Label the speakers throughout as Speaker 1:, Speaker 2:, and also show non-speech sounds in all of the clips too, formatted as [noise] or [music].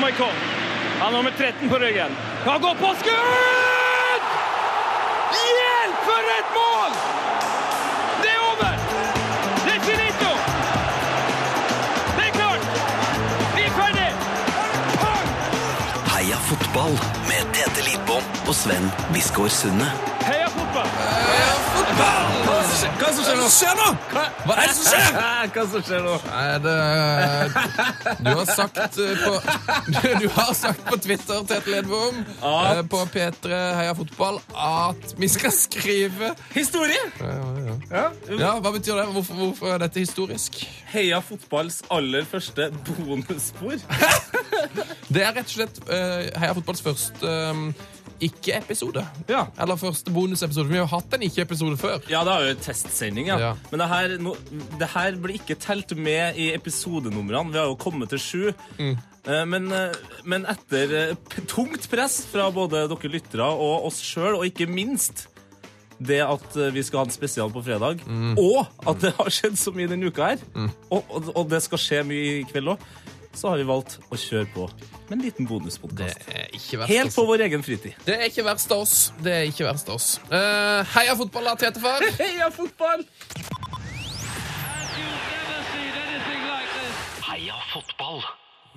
Speaker 1: Kom. Han har nummer 13 på ryggen. Han går på skudd! Hjelp, for et mål! Det er over! Det er finito! Det er klart! Vi er ferdig!
Speaker 2: Heia fotball med Tete Lidbom og Sven Biskår Sunde.
Speaker 1: Heia fotball!
Speaker 3: Hva er det som skjer- hva er det som skjer nå? Hva, hva er det som skjer?
Speaker 4: [laughs] Hva som skjer nå?
Speaker 3: Nei, det Du har sagt eh, på [laughs] Du har sagt på Twitter, Tete Lidbom,
Speaker 4: At-
Speaker 3: eh, på P3 Heia Fotball, at vi skal skrive
Speaker 4: Historie!
Speaker 3: Ja, hva betyr det? Hvorfor, hvorfor er dette historisk?
Speaker 4: Heia fotballs aller første bonusspor.
Speaker 3: Det er rett og slett eh, Heia Fotballs første eh, ikke-episode.
Speaker 4: Ja.
Speaker 3: Eller første bonusepisode. Vi har jo hatt en ikke-episode før.
Speaker 4: Ja, det er jo en testsending, ja.
Speaker 3: Ja.
Speaker 4: Men det her, no, det her blir ikke telt med i episodenumrene. Vi har jo kommet til sju. Eh, Men, eh, men etter eh, p- tungt press fra både dere lyttere og oss sjøl, og ikke minst det at eh, vi skal ha en spesial på fredag, og at det har skjedd så mye denne uka her, og, og, og det skal skje mye i kveld òg, så har vi valgt å kjøre på med en liten bonuspodkast.
Speaker 3: Eh, Ikke verst,
Speaker 4: Helt
Speaker 3: altså.
Speaker 4: på vår egen fritid.
Speaker 3: Det er ikke verst av oss. Det er ikke verst av oss. Eh, heia fotball, da, Tetefar.
Speaker 4: [laughs] Heia fotball!
Speaker 2: Heia fotball.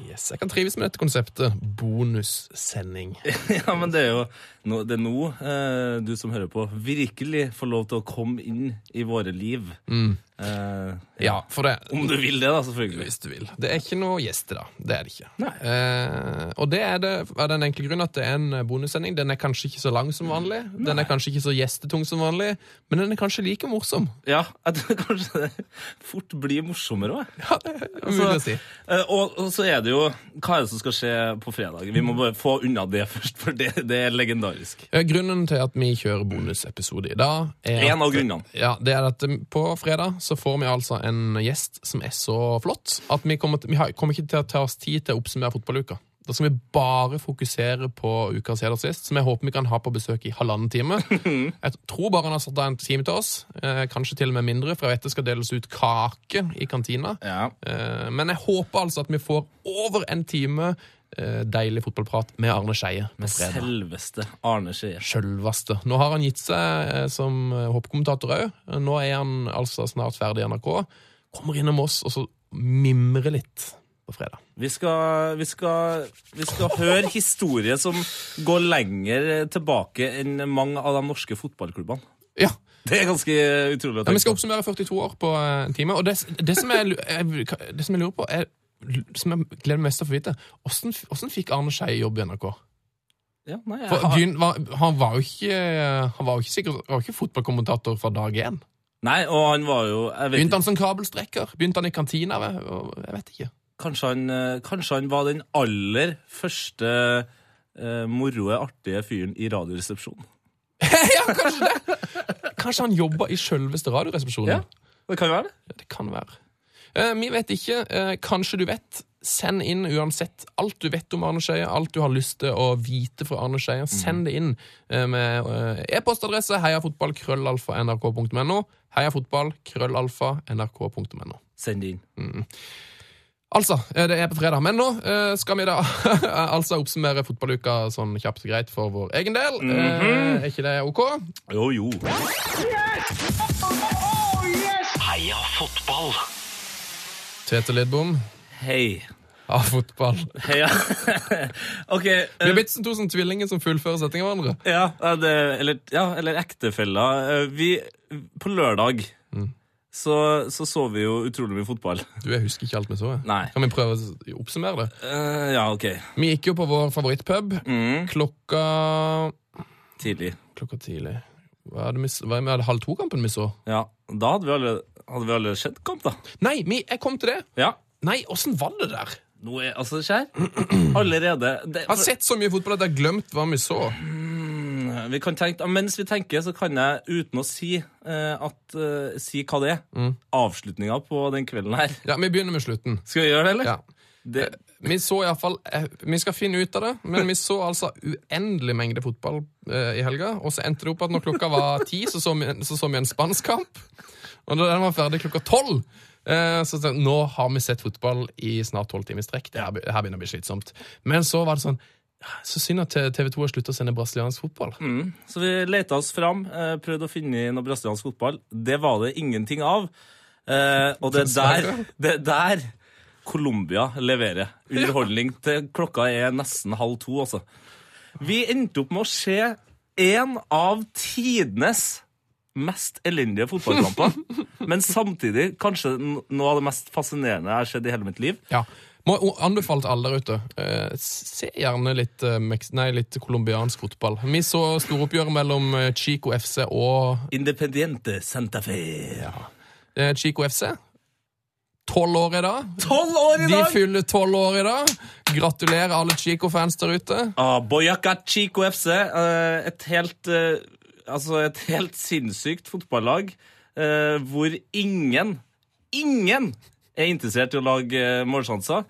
Speaker 3: Yes, jeg kan trives med dette konseptet.
Speaker 4: [laughs]
Speaker 3: Bonussending.
Speaker 4: Ja, men det er jo nå, det er nå eh, du som hører på, virkelig får lov til å komme inn i våre liv.
Speaker 3: Mm.
Speaker 4: Eh,
Speaker 3: Ja, for det
Speaker 4: om du vil det, da, selvfølgelig.
Speaker 3: Hvis du vil. Det er ikke noe gjester, da. Det er det ikke.
Speaker 4: Nei.
Speaker 3: Eh, og det er det av den enkle grunn at det er en eh, bonussending. Den er kanskje ikke så lang som vanlig, den er kanskje ikke så gjestetung som vanlig, men den er kanskje like morsom.
Speaker 4: Ja, [laughs] jeg tror kanskje det fort blir morsommere òg.
Speaker 3: Ja, det er
Speaker 4: altså,
Speaker 3: umulig å si.
Speaker 4: og, og så er det jo Hva er det som skal skje på fredag? Vi
Speaker 3: Mm.
Speaker 4: må bare få unna det [laughs] først, for det, det er legendarisk.
Speaker 3: Eh, Grunnen til at vi kjører bonusepisode i dag, er
Speaker 4: En av grunnene.
Speaker 3: Ja, det er at eh, På fredag så får vi altså en gjest som er så flott at vi kommer, til, vi har, kommer ikke til å ta oss tid til å oppsummere fotballuka. Da skal vi bare fokusere på ukas heder sist, som jeg håper vi kan ha på besøk i halvannen time. Jeg tror bare han har satt av en time til oss, eh, kanskje til og med mindre, for jeg vet det skal deles ut kake i kantina.
Speaker 4: Ja.
Speaker 3: Eh, men jeg håper altså at vi får over en time eh, deilig fotballprat med Arne Skeie. på fredag.
Speaker 4: Selveste Arne Skeie.
Speaker 3: Sjølveste. Nå har han gitt seg eh, som eh, hoppkommentator òg. Nå er han altså snart ferdig i NRK. Kommer innom oss og så mimrer litt på fredag.
Speaker 4: Vi skal, vi, skal, vi skal høre historier som går lenger tilbake enn mange av de norske fotballklubbene.
Speaker 3: Ja,
Speaker 4: Det er ganske utrolig
Speaker 3: ja Vi
Speaker 4: å tenke
Speaker 3: skal
Speaker 4: på.
Speaker 3: oppsummere 42 år på eh, en time. Og det, det, som jeg, lu- jeg, det som jeg lurer på, er, som jeg gleder meg mest til å få vite, åssen åssen fikk Arne Skeie jobb i NRK?
Speaker 4: Ja, nei, jeg
Speaker 3: For
Speaker 4: har-
Speaker 3: begyn, var, han var jo ikke, han var jo ikke, sikkert, han var ikke fotballkommentator fra dag én.
Speaker 4: nei, og han var jo jeg vet
Speaker 3: Begynte
Speaker 4: ikke,
Speaker 3: han som kabelstrekker? Begynte han i kantina? Jeg jeg vet ikke.
Speaker 4: kanskje, han, eh, kanskje han var den aller første eh, moroe, artige fyren i Radioresepsjonen.
Speaker 3: Kanskje han jobba i sjølveste Radioresepsjonen?
Speaker 4: Ja, det kan jo være det.
Speaker 3: Ja, Det kan være. Eh, vi vet ikke. Eh, kanskje du vet. Send inn uansett alt du vet om Arne Skeie, alt du har lyst til å vite fra Arne Skeie. Send det inn eh, med eh, e-postadresse heiafotballkrøllalfa.nrk.no. Heiafotballkrøllalfa.nrk.no.
Speaker 4: Send det inn.
Speaker 3: Altså, eh, det er på fredag, men nå eh, skal vi da [laughs] altså oppsummere fotballuka sånn kjapt og greit for vår egen del. eh, er ikke det ok?
Speaker 4: Jo, jo.
Speaker 2: Heia fotball.
Speaker 3: Tete Lidbom
Speaker 4: Hei.
Speaker 3: av fotball.
Speaker 4: Heia. [laughs] OK.
Speaker 3: Vi
Speaker 4: eh,
Speaker 3: er blitt som to som tvillinger som fullfører setninger av hverandre.
Speaker 4: Ja, ja, det, eller, ja, eller ektefeller. Eh, Vi, på lørdag så, så så vi jo utrolig mye fotball.
Speaker 3: Du, jeg husker ikke alt vi så. jeg.
Speaker 4: Nei.
Speaker 3: Kan vi prøve å oppsummere det?
Speaker 4: Eh, ja, OK.
Speaker 3: Vi gikk jo på vår favorittpub klokka
Speaker 4: Tidlig.
Speaker 3: Klokka tidlig. Hva er det vi, s- hva er det, vi hadde halv to-kampen vi så?
Speaker 4: Ja, Da hadde vi allerede, hadde vi allerede sett kamp, da.
Speaker 3: Nei, vi, jeg kom til det!
Speaker 4: Ja.
Speaker 3: Nei, åssen var det der?
Speaker 4: Nå er altså Kjær allerede det,
Speaker 3: Jeg har sett så mye fotball at jeg har glemt hva vi så.
Speaker 4: vi kan tenke, Mens vi tenker, så kan jeg uten å si, eh, at, eh, si hva det er, avslutninga på den kvelden her.
Speaker 3: Ja, Vi begynner med slutten.
Speaker 4: Skal vi gjøre det, eller?
Speaker 3: Ja.
Speaker 4: Det,
Speaker 3: Vi så iallfall eh, Vi skal finne ut av det, men vi så altså uendelig mengde fotball eh, i helga. Og så endte det opp at når klokka var ti, så så vi, så så vi en spansk kamp. Og da den var ferdig klokka tolv, Eh, Så tenkte jeg, nå har vi sett fotball i snart tolv timer i strekk. Det her, be- det her begynner å bli slitsomt. Men så var det sånn ja, Så synd at TV 2 har sluttet å sende brasiliansk fotball.
Speaker 4: Så vi leta oss fram, eh, prøvde å finne noe brasiliansk fotball. Det var det ingenting av. Eh, og det er der,
Speaker 3: Dessverre.
Speaker 4: det er der Colombia leverer. Underholdning til klokka er nesten halv to, altså. Vi endte opp med å se én av tidenes mest elendige fotballkamper. Men samtidig kanskje n- noe av det mest fascinerende jeg har sett i hele mitt liv.
Speaker 3: Ja. Må o- anbefale til alle der ute. eh, Se gjerne litt, eh, Mex- nei, litt colombiansk fotball. Vi så storoppgjøret mellom eh, Chico FC og
Speaker 4: Independiente Santa Fe.
Speaker 3: eh, Chico FC. Tolv år i dag.
Speaker 4: Tolv år i
Speaker 3: De
Speaker 4: dag!
Speaker 3: fyller tolv år i dag. Gratulerer alle Chico-fans der ute.
Speaker 4: Ah, Boyaka Chico FC. eh, Et helt, eh, altså et helt sinnssykt fotballag eh, hvor ingen, ingen er interessert i å lage eh, målsjanser.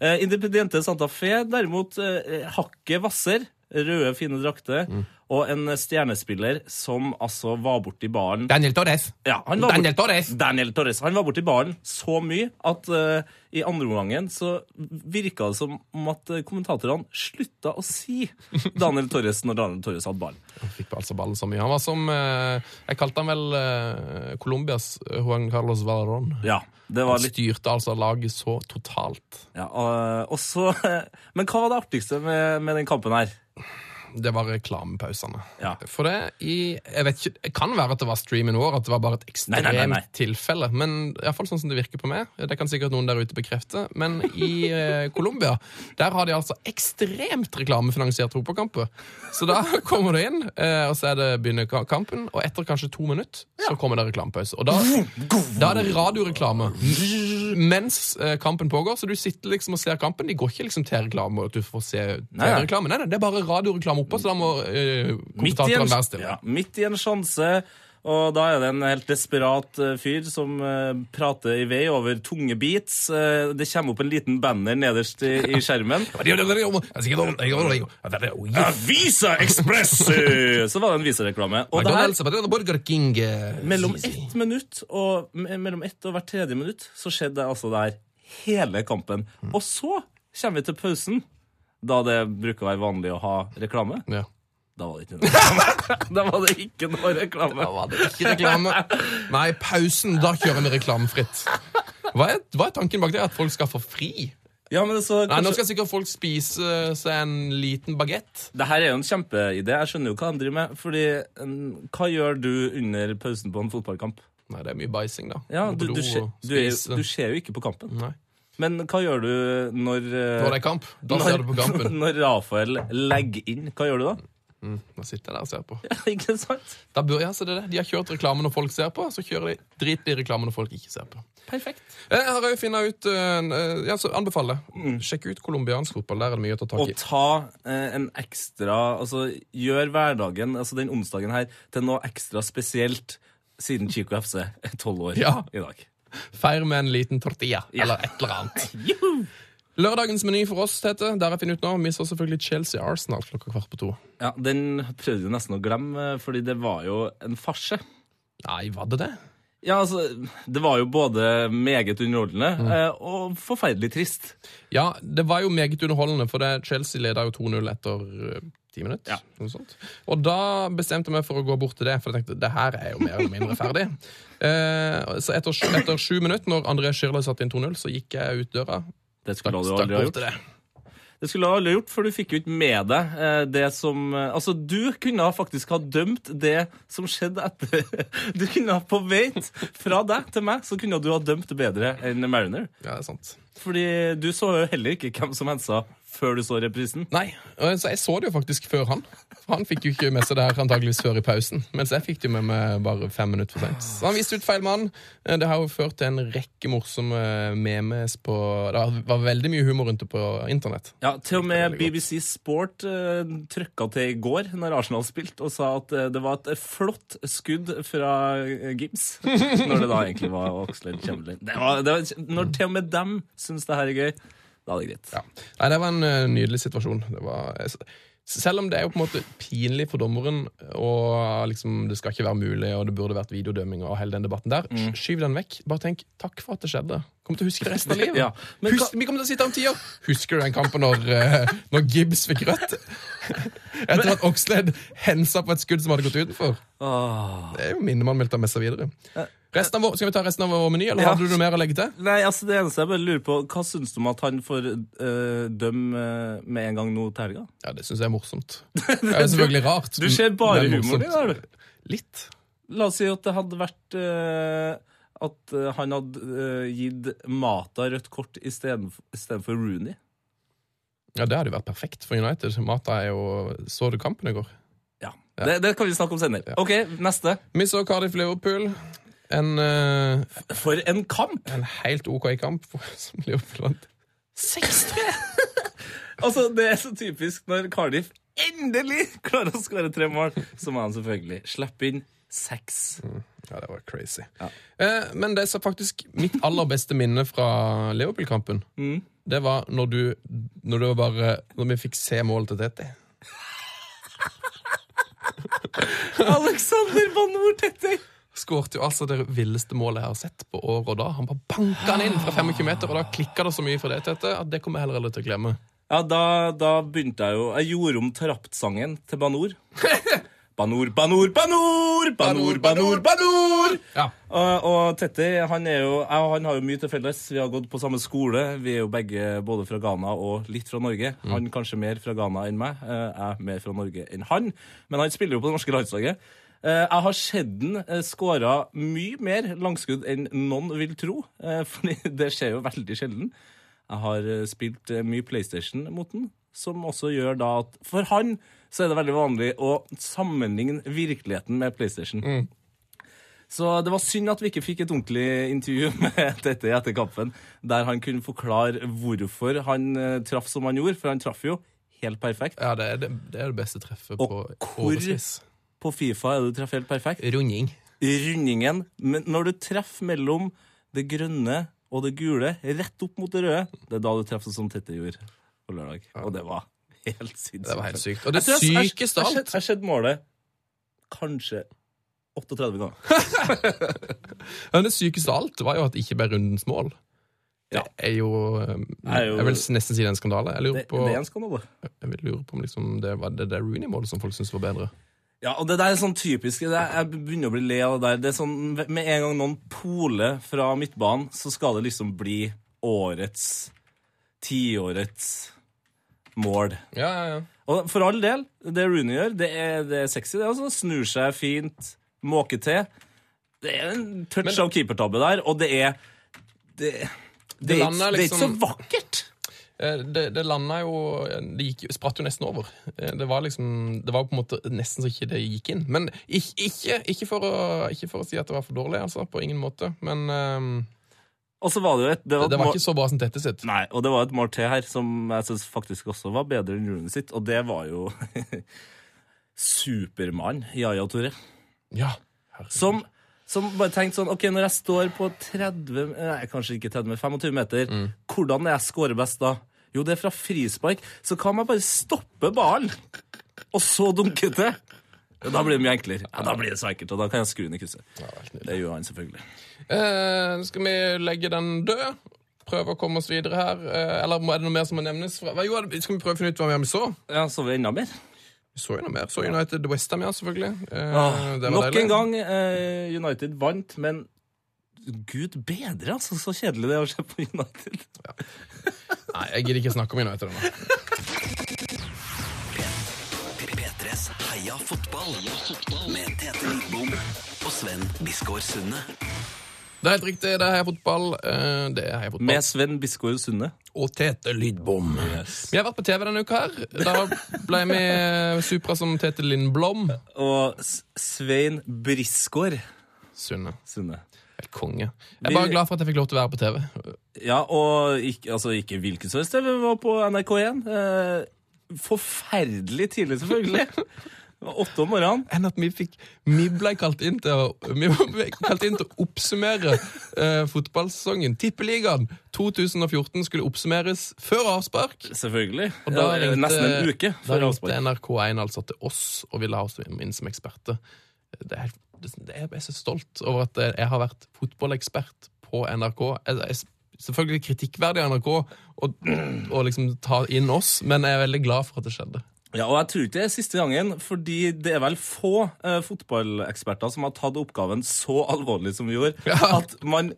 Speaker 4: Eh, Independiente Santa Fe derimot eh, hakket hvasser, røde, fine drakter, og en stjernespiller som altså var borti baren
Speaker 3: Daniel Torres.
Speaker 4: ja, han var
Speaker 3: Daniel
Speaker 4: bort-
Speaker 3: Torres.
Speaker 4: Daniel Torres. Han var borti baren så mye at eh, i andre omgangen så virka det som om at eh, kommentatorene slutta å si
Speaker 3: [laughs]
Speaker 4: Daniel Torres når Daniel Torres hadde ballen.
Speaker 3: Han fikk altså ballen så mye. Han var som eh, Jeg kalte han vel eh, Colombias Juan Carlos Valerón.
Speaker 4: Ja, det var
Speaker 3: Han
Speaker 4: litt
Speaker 3: styrte altså laget så totalt.
Speaker 4: ja, og, og så, [laughs] Men hva var det artigste med, med den kampen her?
Speaker 3: Det var reklamepausene.
Speaker 4: Ja.
Speaker 3: For det i Jeg vet ikke, det kan være at det var streamen vår, at det var bare et
Speaker 4: Nei,
Speaker 3: ekstremt
Speaker 4: nei, nei, nei.
Speaker 3: tilfelle. Men iallfall sånn som det virker på meg. Det kan sikkert noen der ute bekrefte. Men i eh,
Speaker 4: [laughs]
Speaker 3: Colombia der har de altså ekstremt reklamefinansierte fotballkamper. Så da [laughs] kommer du inn, eh, og så er det begynner ka- kampen, og etter kanskje to minutter så kommer det reklamepause. Og
Speaker 4: [laughs]
Speaker 3: da, da er det radioreklame mens eh, kampen pågår, så du sitter liksom og ser kampen. De går ikke liksom til reklame, og at du får se
Speaker 4: Nei, nei.
Speaker 3: TV-reklame. Nei, nei, det er bare radioreklame oppå, så da må eh,
Speaker 4: Midt i, en,
Speaker 3: kommentatorene være stille.
Speaker 4: ja, midt i en sjanse, og da er det en helt desperat eh, fyr som eh, prater i vei over tunge beats. Eh, det kommer opp en liten banner nederst i, i skjermen.
Speaker 3: [laughs]
Speaker 4: Avisa Ekspress! eh, [laughs] Så var det en visereklame. Og det her,
Speaker 3: eh,
Speaker 4: mellom ett minutt og, me- mellom ett og hvert tredje minutt så skjedde altså det her hele kampen.
Speaker 3: Mm.
Speaker 4: Og så kommer vi til pausen, da det bruker å være vanlig å ha reklame.
Speaker 3: Ja.
Speaker 4: Da var det ikke noe reklame. da var det ikke noe reklame.
Speaker 3: Da var det ikke reklame. Nei, pausen, da kjører vi reklamefritt. Hva er, hva er tanken bak det? At folk skal få fri?
Speaker 4: Ja, men så
Speaker 3: Nei, Nå
Speaker 4: kanskje,
Speaker 3: skal sikkert folk spise seg en liten bagett.
Speaker 4: Det her er jo en kjempeidé. Jeg skjønner jo hva han driver med. Fordi, mm, hva gjør du under pausen på en fotballkamp?
Speaker 3: Nei, det er mye bæsjing, da.
Speaker 4: Ja,
Speaker 3: Gå på
Speaker 4: du, du,
Speaker 3: do
Speaker 4: ser-
Speaker 3: og
Speaker 4: du, er
Speaker 3: spise.
Speaker 4: jo- du ser jo ikke på kampen.
Speaker 3: Nei.
Speaker 4: Men hva gjør du når eh,
Speaker 3: Når det er kamp, da ser du på kampen.
Speaker 4: [laughs] Når Rafael legger inn, hva gjør du da? [laughs]
Speaker 3: Da sitter jeg der og ser på.
Speaker 4: Ikke sant?
Speaker 3: Da bør, ja, så det er det. De har kjørt reklame når folk ser på, så kjører de drit i reklame når folk ikke ser på.
Speaker 4: Perfekt.
Speaker 3: Jeg har jo finnet ut, eh, eh, ja, så anbefaler jeg. Sjekk ut colombiansk fotball, der er det mye å ta tak
Speaker 4: Og
Speaker 3: i.
Speaker 4: ta eh, en ekstra Altså, gjør hverdagen, altså den onsdagen her, til noe ekstra spesielt siden Chico FC er tolv år
Speaker 3: Ja.
Speaker 4: i dag.
Speaker 3: Feir med en liten tortilla, eller et eller annet. Lørdagens meny for oss, Tete, der jeg finner ut nå, vi så selvfølgelig Chelsea-Arsenal klokka kvart på to.
Speaker 4: Ja, Den prøvde du nesten å glemme, eh, fordi det var jo en farse.
Speaker 3: Nei, var det det?
Speaker 4: Ja, altså, Det var jo både meget underholdende
Speaker 3: Mm.
Speaker 4: eh, og forferdelig trist.
Speaker 3: Ja, det var jo meget underholdende, for det Chelsea leda jo 2-0 etter eh, ti minutter.
Speaker 4: Ja.
Speaker 3: Noe sånt. Og da bestemte jeg meg for å gå bort til det, for jeg tenkte det her er jo mer eller mindre ferdig.
Speaker 4: [laughs]
Speaker 3: Eh, så etter, sju- etter sju minutter, når André Schirle satte inn 2-0, så gikk jeg ut døra.
Speaker 4: Det skulle
Speaker 3: Stakk,
Speaker 4: du
Speaker 3: stakk
Speaker 4: aldri ha
Speaker 3: bort
Speaker 4: gjort.
Speaker 3: til det.
Speaker 4: Det skulle du aldri gjort, for du fikk jo ikke med deg eh, det som eh, Altså, du kunne ha faktisk ha dømt det som skjedde etter [laughs] Du kunne ha på vei fra deg til meg, så kunne du ha dømt bedre enn Mariner.
Speaker 3: Ja, det er sant.
Speaker 4: Fordi du så jo heller ikke hvem som hensa før du så reprisen.
Speaker 3: Nei, eh, så jeg så det jo faktisk før han. For Han fikk jo ikke med seg det her antageligvis før i pausen, mens jeg fikk det jo med meg bare fem minutter for sent. Så han viste ut feil mann. Eh, Det har jo ført til en rekke morsomme memes på Det var veldig mye humor rundt det på internett.
Speaker 4: Ja, Til og med
Speaker 3: Veldig godt.
Speaker 4: BBC Sport eh, trykka til i går når Arsenal spilte, og sa at eh, det var et flott skudd fra eh, Gibbs. Når det da egentlig var Oxlade Chamberlain. Det var, det var, når til og med dem syns det her er gøy, da er det greit.
Speaker 3: Ja. Nei, det var en eh, nydelig situasjon. Det var, jeg s- Selv om det er jo på en måte pinlig for dommeren, og liksom det skal ikke være mulig, og det burde vært videodømming og hele den debatten der, sk-
Speaker 4: Mm.
Speaker 3: skyv den vekk. Bare tenk 'takk for at det skjedde'. Kommer til å huske det resten av livet.
Speaker 4: [laughs] Ja, men
Speaker 3: Husk, vi kommer til å sitte her om ti år. Husker du den kampen når, eh, når Gibbs fikk
Speaker 4: [laughs]
Speaker 3: rødt? Etter at Oxlade hensa på et skudd som hadde gått utenfor.
Speaker 4: Åh.
Speaker 3: Det er jo minner man vil ta med seg videre. Resten av vår, skal vi ta resten av vår meny, eller
Speaker 4: Ja.
Speaker 3: hadde du noe mer å legge til?
Speaker 4: Nei, altså det eneste jeg bare lurer på, hva syns du om at han får øh, dømme øh, med en gang nå til helga?
Speaker 3: Ja, det syns jeg er
Speaker 4: [laughs]
Speaker 3: morsomt. Det er jo selvfølgelig rart.
Speaker 4: Du ser bare
Speaker 3: men
Speaker 4: humoren
Speaker 3: morsomt.
Speaker 4: i det, er du?
Speaker 3: Litt.
Speaker 4: La oss si at det hadde vært eh, At eh, han hadde eh, gitt Mata rødt kort istedenfor istedenfor Rooney.
Speaker 3: Ja, det hadde jo vært perfekt for United. Mata er jo Så du kampen i går?
Speaker 4: Ja. Det, det kan vi snakke om senere. OK, neste.
Speaker 3: Vi så Cardiff Liverpool. En, eh,
Speaker 4: For en kamp!
Speaker 3: en helt OK kamp [laughs] som Liverpool vant.
Speaker 4: 6-3! [laughs] altså, det er så typisk når Cardiff endelig klarer å skåre tre mål, så må han selvfølgelig slippe inn seks.
Speaker 3: Ja, det var crazy.
Speaker 4: Ja.
Speaker 3: Eh, men det som faktisk mitt aller beste minne fra Liverpool-kampen,
Speaker 4: Mm.
Speaker 3: det var når du Når, det var bare, når vi fikk se målet til Tete.
Speaker 4: Mm. Alexander Banor Tetter!
Speaker 3: Skårte jo altså det villeste målet jeg har sett på år og da. Han bare banka den inn fra 25 meter, og da klikka det så mye for det, Tete, at det kommer jeg heller aldri til å glemme.
Speaker 4: Ja, da, da begynte jeg jo Jeg gjorde om Trapt-sangen til [laughs] Banor. Banor, Banor, Banor! Banor, Banor, Banor!
Speaker 3: Ja.
Speaker 4: Og, og Tetti han, er jo, jeg og han har jo mye til felles. Vi har gått på samme skole. Vi er jo begge både fra Ghana og litt fra Norge. Han kanskje mer fra Ghana enn meg. eh, Jeg mer fra Norge enn han. Men han spiller jo på det norske landslaget. Eh, Jeg har sett den skåra mye mer langskudd enn noen vil tro. eh, Fordi [laughs] det skjer jo veldig sjelden. Jeg har eh, spilt eh, mye PlayStation mot den, som også gjør da at for han så er det veldig vanlig å sammenligne virkeligheten med PlayStation. Så det var synd at vi ikke fikk et ordentlig intervju [laughs] med dette etter kampen, der han kunne forklare hvorfor han eh, traff som han gjorde, for han traff jo helt perfekt.
Speaker 3: Ja, det er det, det, er det beste treffet på
Speaker 4: hvor-
Speaker 3: årevis.
Speaker 4: På Fifa er du treffer helt perfekt.
Speaker 3: Runding.
Speaker 4: Rundingen. Men når du treffer mellom det grønne og det gule, rett opp mot det røde, det er da du treffer som Tette gjorde på lørdag. Og det var helt sinnssykt.
Speaker 3: Det var helt sykt. Og det
Speaker 4: Jeg tror jeg- jeg-
Speaker 3: sykeste av
Speaker 4: Jeg
Speaker 3: alt
Speaker 4: har sett målet kanskje 38 ganger.
Speaker 3: Men det sykeste av alt var jo at det ikke ble rundens mål. Det
Speaker 4: Ja.
Speaker 3: er jo um,
Speaker 4: er jo-
Speaker 3: Jeg vil nesten si det er en skandale. Jeg lurer
Speaker 4: Det,
Speaker 3: på,
Speaker 4: det er en skandale.
Speaker 3: jeg vil lure på om liksom det var det, det Rooney-målet som folk syntes var bedre.
Speaker 4: Ja, og det der er sånn typisk det er, Jeg begynner å bli le av det der. Det er sånn, Med en gang noen poler fra midtbanen, så skal det liksom bli årets, tiårets mål.
Speaker 3: Ja, ja, ja.
Speaker 4: Og for all del, det Rooney gjør, det er, det er sexy. det altså. Snur seg fint, måker til. Det er en touch av keepertabbe der, og det er Det, det, er,
Speaker 3: lander
Speaker 4: ikke- det er ikke så
Speaker 3: liksom-
Speaker 4: vakkert.
Speaker 3: Eh, Det, det landa jo Det gikk, jo- spratt jo nesten over. Eh, Det var liksom Det var på en måte nesten så ikke det gikk inn. Men ikke, ikke, ikke, for, å, ikke for å si at det var for dårlig, altså. På ingen måte. Men ehm,
Speaker 4: Og så var det jo et det
Speaker 3: det,
Speaker 4: var et
Speaker 3: det var
Speaker 4: mål-
Speaker 3: ikke så bra som dette sitt.
Speaker 4: Nei, og det var et mål til her som jeg syns faktisk også var bedre enn Rooney sitt, og det var jo [laughs] Supermann Yaya Touré.
Speaker 3: Ja.
Speaker 4: Som, som bare tenkte sånn OK, når jeg står på 30 Nei, kanskje ikke 30, men 25 meter,
Speaker 3: Mm.
Speaker 4: hvordan er jeg scorer best da? Jo, det er fra frispark, så kan man bare stoppe ballen, og så dunke til. Ja, Da blir det mye enklere. Ja, Da blir det så enkelt, og da kan jeg skru den i krysset. Det gjør han selvfølgelig.
Speaker 3: Eh, skal vi legge den død? Prøve å komme oss videre her? Eh, eller må- er det noe mer som må nevnes? Fra? Hva- Jo, er det- skal vi prøve å finne ut hva mer vi så?
Speaker 4: Ja, så vi enda mer.
Speaker 3: Vi så jo noe mer. Så United Westham, ja, selvfølgelig. Eh, det var
Speaker 4: Ah, Nok
Speaker 3: deilig.
Speaker 4: en gang eh, United vant, men gud bedre, altså. Så kjedelig det er å se på United.
Speaker 3: Nei, jeg gidder ikke snakke om United ennå.
Speaker 2: P3s Heia fotball med Tete Lidbom og Sven Biskår Sunde.
Speaker 3: Det er helt riktig. Det er heia fotball. Eh, det er heia fotball.
Speaker 4: Med Sven Biskår Sunde.
Speaker 3: og Tete Lydbom. Vi har vært på TV denne uka her. Da ble vi eh, supra som Tete Lindblom.
Speaker 4: Og S- Svein Brisgaard
Speaker 3: Sunne.
Speaker 4: Sunde.
Speaker 3: Helt konge. Jeg er bare glad for at jeg fikk lov til å være på TV.
Speaker 4: Ja, og ikke, altså, ikke hvilken som helst TV, vi var på NRK1. Eh, forferdelig tidlig, selvfølgelig. Det var Åtte om morgenen.
Speaker 3: enn at vi fikk Vi ble kalt inn til å, vi ble kalt inn til å oppsummere eh, fotballsesongen. Tippeligaen 2014 skulle oppsummeres før avspark.
Speaker 4: Selvfølgelig.
Speaker 3: Og
Speaker 4: Ja, det er Nesten en uke
Speaker 3: da
Speaker 4: før
Speaker 3: ringte
Speaker 4: avspark.
Speaker 3: NRK1 altså til oss og ville ha oss inn som eksperter. Det er, helt- det det er, jeg er så stolt over at jeg har vært fotballekspert på NRK. Jeg, jeg, selvfølgelig kritikkverdig av NRK å å liksom ta inn oss, men jeg er veldig glad for at det skjedde.
Speaker 4: Ja, og jeg tror ikke det er siste gangen, fordi det er vel få eh, fotballeksperter som har tatt oppgaven så alvorlig som vi gjorde,
Speaker 3: Ja.
Speaker 4: at man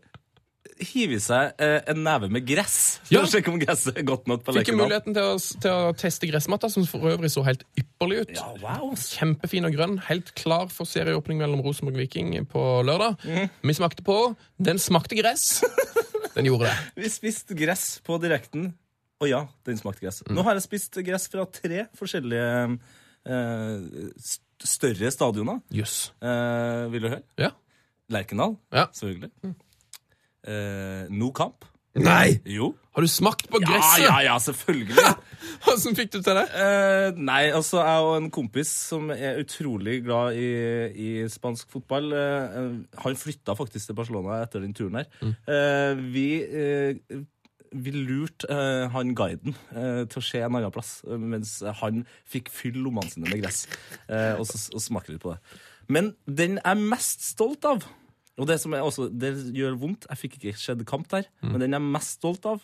Speaker 4: hiver i seg eh, en neve med gress for
Speaker 3: Ja.
Speaker 4: å sjekke om gresset er godt nok på
Speaker 3: Fikk jo
Speaker 4: Lerkendal.
Speaker 3: muligheten til å, til å teste gressmatta, som for øvrig så helt ypperlig ut.
Speaker 4: Ja, Ah, wow.
Speaker 3: Kjempefin og grønn, helt klar for serieåpning mellom Rosenborg og Viking på lørdag.
Speaker 4: Mm.
Speaker 3: Vi smakte på. Den smakte
Speaker 4: [laughs]
Speaker 3: gress. Den gjorde det.
Speaker 4: Vi spiste gress på direkten, og ja, den smakte gress. Nå har jeg spist gress fra tre forskjellige eh, st større stadioner.
Speaker 3: Jøss.
Speaker 4: Eh, vil du høre?
Speaker 3: Ja.
Speaker 4: Lerkendal,
Speaker 3: Ja.
Speaker 4: selvfølgelig. Eh, no Kamp.
Speaker 3: Nei!
Speaker 4: Jo.
Speaker 3: Har du smakt på
Speaker 4: Ja,
Speaker 3: gresset?
Speaker 4: ja, ja, selvfølgelig.
Speaker 3: Hvordan fikk du til det?
Speaker 4: Eh, nei, altså jeg og en kompis som er utrolig glad i, i spansk fotball eh, Han flytta faktisk til Barcelona etter den turen her. Eh, vi, eh, vi lurte eh, han guiden eh, til å se en annen plass, eh, mens han fikk fylle lommene sine med gress. eh, og, så, og smake litt på det. Men den jeg er mest stolt av, og det som er også, det gjør vondt Jeg fikk ikke skjedd kamp der, men den jeg er mest stolt av,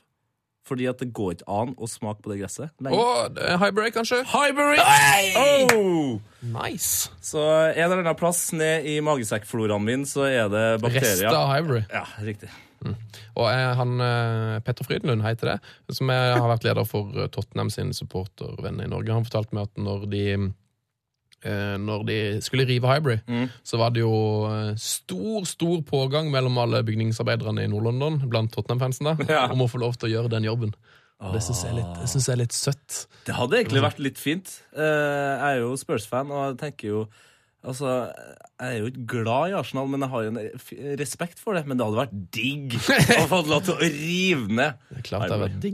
Speaker 4: fordi at det går ikke an å smake på det gresset. lenger.
Speaker 3: Og eh, high break, kanskje?
Speaker 4: Highbury! Oh!
Speaker 3: Nice.
Speaker 4: Så en eller annen plass ned i magesekkfloraen min, så er det
Speaker 3: Rester
Speaker 4: bakterier.
Speaker 3: av Highbury.
Speaker 4: Ja, riktig.
Speaker 3: Og eh, han eh, Petter Frydenlund, hei til det, som eh, har vært leder for eh, Tottenham sin supportervenn i Norge, han fortalte meg at når de eh, når de skulle rive Hybrid,
Speaker 4: Mm.
Speaker 3: så var det jo eh, stor stor pågang mellom alle bygningsarbeiderne i Nord-London blant Tottenham-fansen da,
Speaker 4: Ja.
Speaker 3: om å få lov til å gjøre den jobben. Og det syns jeg, er litt- det synes jeg er litt søtt.
Speaker 4: Det hadde egentlig vært litt fint. Eh, Jeg er jo Spurs-fan, og jeg tenker jo Altså, Jeg er jo ikke glad i Arsenal, men jeg har jo en f- respekt for det. Men det hadde vært digg å få lov til å rive ned.
Speaker 3: Det er klart det
Speaker 4: Highbury.
Speaker 3: hadde vært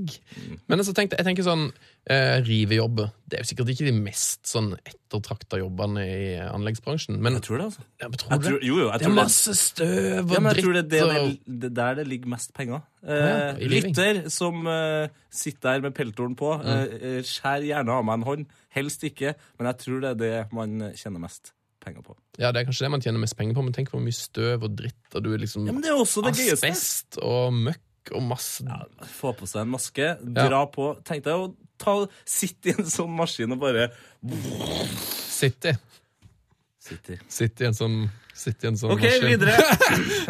Speaker 3: digg. Men altså, tenkte, jeg tenker sånn eh, Rivejobber. Det er jo sikkert ikke de mest sånn ettertrakta jobbene i eh, anleggsbransjen, men
Speaker 4: Jeg tror det, altså.
Speaker 3: Ja, men tror
Speaker 4: Jeg
Speaker 3: du det?
Speaker 4: tror, jo, jo, jeg
Speaker 3: Det er
Speaker 4: tror det.
Speaker 3: masse støv og
Speaker 4: Ja, men jeg
Speaker 3: dritt
Speaker 4: tror det er det,
Speaker 3: og
Speaker 4: det, det der det ligger mest penger. Eh,
Speaker 3: Ja, i Mm. living.
Speaker 4: lytter som eh, sitter der med peltoren på, eh, eh, skjær gjerne av meg en hånd. Helst ikke, men jeg tror det er det man kjenner mest penger på.
Speaker 3: Ja, det er kanskje det man tjener mest penger på, men tenk hvor mye støv og dritt og du er liksom
Speaker 4: Ja, men det er også det gøyeste.
Speaker 3: asbest og møkk og masse
Speaker 4: Ja, få på seg en maske, dra på. Tenk deg å ta, sitte i en sånn maskin og bare
Speaker 3: Sitte.
Speaker 4: Sitte i.
Speaker 3: Sitte i en sånn Sitte i en sånn
Speaker 4: OK,
Speaker 3: maskin. [laughs]
Speaker 4: videre.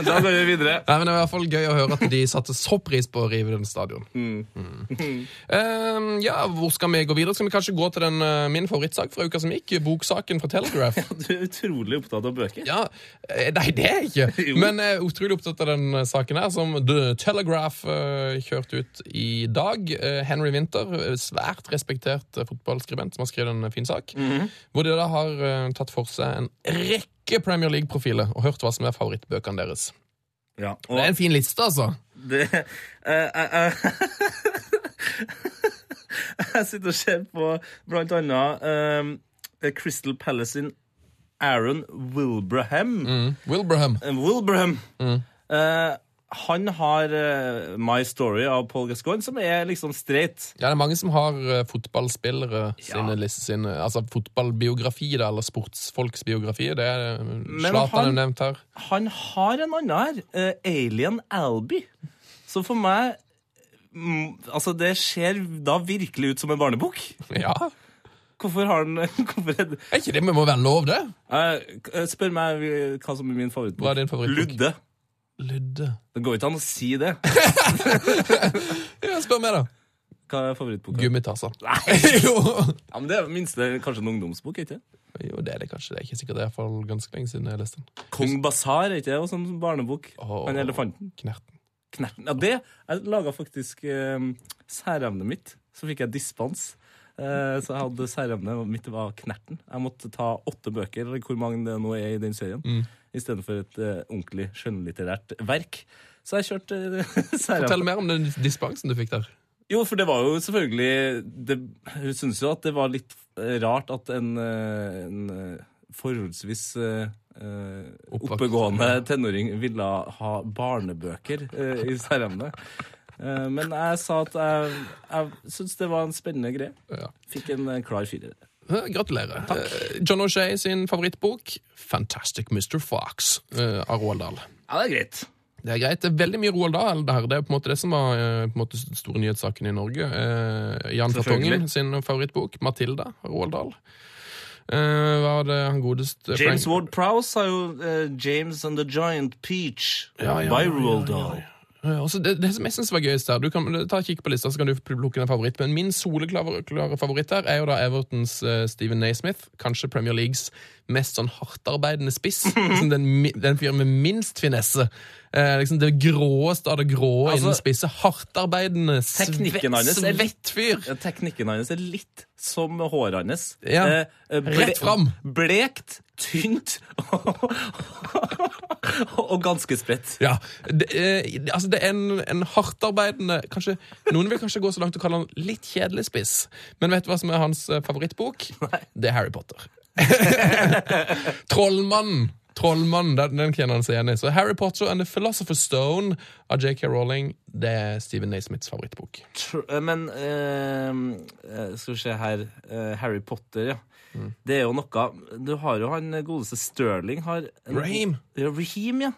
Speaker 4: Da går vi videre.
Speaker 3: Nei, men Det er i hvert fall gøy å høre at de satte så pris på å rive den stadion. Mm. Eh, ja, Hvor skal vi gå videre? Skal vi kanskje gå til den, eh, min favorittsak fra uka som gikk? Boksaken fra Telegraph. [laughs]
Speaker 4: Du er utrolig opptatt av bøker.
Speaker 3: Ja, eh, Nei, det er jeg ikke.
Speaker 4: Jo.
Speaker 3: Men jeg er utrolig opptatt av den eh, saken her, som The Telegraph eh, kjørte ut i dag. Eh, Henry Winther, eh, svært respektert eh, fotballskribent, som har skrevet en eh, fin sak. Hvor de da har eh, tatt for seg en rekke Premier League-profiler og hørt hva som er favorittbøkene deres.
Speaker 4: Ja,
Speaker 3: Det er
Speaker 4: og
Speaker 3: en fin liste, altså.
Speaker 4: Det eh, eh, [laughs] eh. Jeg sitter og ser på blant annet eh, Crystal Palace sin Aaron Wilbraham.
Speaker 3: Mm. Wilbraham.
Speaker 4: Eh, Wilbraham. Eh, han har eh, My Story av Paul Gascoigne, som er liksom straight.
Speaker 3: Ja, det er mange som har eh, fotballspillere sine,
Speaker 4: Ja.
Speaker 3: liste- sine Altså fotballbiografi, da, eller sportsfolks biografi. Det er eh, Zlatan er
Speaker 4: han-
Speaker 3: nevnt her. [laughs]
Speaker 4: Han har en annen her, eh, Alien Alby. Så for meg mm, Altså, det ser da virkelig ut som en barnebok.
Speaker 3: Ja,
Speaker 4: Hvorfor har han [laughs] Hvorfor er det
Speaker 3: er ikke det? Vi må være lov, det.
Speaker 4: Eh, k- eh, spør meg eh, hva som er min favorittbok.
Speaker 3: Hva er din favorittbok?
Speaker 4: Ludde.
Speaker 3: Ludde.
Speaker 4: Det går ikke an å si det.
Speaker 3: Ja, spør meg, da.
Speaker 4: Hva er favorittboka?
Speaker 3: Gummitasser.
Speaker 4: Nei.
Speaker 3: [laughs] jo.
Speaker 4: Ja, men det er minst det er kanskje en ungdomsbok, ikke det?
Speaker 3: jo, det er det kanskje. Det er ikke sikkert det er i hvert fall ganske lenge siden jeg leste den.
Speaker 4: Kong Basar, er ikke det? Og sånn barnebok.
Speaker 3: Åh.
Speaker 4: Han elefanten.
Speaker 3: Knerten.
Speaker 4: Knerten. Ja, det Jeg laga faktisk eh, særevnet mitt. Så fikk jeg dispens. Eh, så jeg hadde særevnet mitt var Knerten. Jeg måtte ta åtte bøker, eller hvor mange det nå er i den serien,
Speaker 3: Mm.
Speaker 4: istedenfor et eh, ordentlig skjønnlitterært verk. Så jeg kjørte eh, [laughs] særevne.
Speaker 3: Fortell mer om den dispensen du fikk der.
Speaker 4: Jo, for det var jo selvfølgelig det, Hun syntes jo at det var litt eh, rart at en, eh, en eh, forholdsvis eh, eh,
Speaker 3: Oppvokst.
Speaker 4: oppegående tenåring ville ha barnebøker eh, i særemnet. Eh, men jeg sa at jeg, jeg syntes det var en spennende greie.
Speaker 3: Ja.
Speaker 4: Fikk en eh, klar firer.
Speaker 3: Eh, Gratulerer. Eh, John O'Shay sin favorittbok, 'Fantastic Mr. Fox', eh, av Roald Dahl.
Speaker 4: Ja, det er greit.
Speaker 3: Det er greit. Det er veldig mye Roald Dahl. Det, her. det er på en måte det som var eh, på en måte den store nyhetssaken i Norge. Eh, Jan Fartongen
Speaker 4: Selvfølgelig.
Speaker 3: sin favorittbok, 'Matilda', av Roald Dahl. Eh, hva var det han godeste
Speaker 4: James Ward Prowse har jo eh, 'James and the Giant Peach'
Speaker 3: Ja, ja,
Speaker 4: by
Speaker 3: ja,
Speaker 4: Roald
Speaker 3: ja, ja.
Speaker 4: Dahl.
Speaker 3: Ja, altså det, det som jeg synes var gøyest der, du kan ta og kikke på lista, så kan du plukke en favoritt, men min soleklare klare favoritt der er jo da Evertons eh, Steven Naismith, kanskje Premier Leagues mest sånn hardtarbeidende
Speaker 4: [laughs]
Speaker 3: spiss, liksom den, mi- den fyren med minst finesse. Eh, liksom det gråeste av det grå
Speaker 4: Altså,
Speaker 3: innen spisse, hardtarbeidende,
Speaker 4: teknikken hans er
Speaker 3: svett fyr.
Speaker 4: Ja, Eh, teknikken hans er litt som håret hans.
Speaker 3: Ja.
Speaker 4: eh,
Speaker 3: Rett fram.
Speaker 4: Blekt, tynt [laughs] og ganske spredt.
Speaker 3: Ja, det, eh, altså det er en, en hardtarbeidende kanskje, Noen vil kanskje gå så langt og kalle han litt kjedelig spiss, men vet du hva som er hans eh, favorittbok? Det er Harry Potter. [laughs] Trollmannen! Trollmannen, den, den kjenner han seg igjen i. Så Harry Potter and The Philosopher's Stone av J.K. Rowling det er Stephen Naismiths favorittbok.
Speaker 4: Tr- eh, Men eh, eh, skal vi se her eh, Harry Potter, ja.
Speaker 3: Mm.
Speaker 4: Det er jo noe Du har jo han eh, godeste Sterling har en-
Speaker 3: Raheem.
Speaker 4: Ja, Raheem, ja.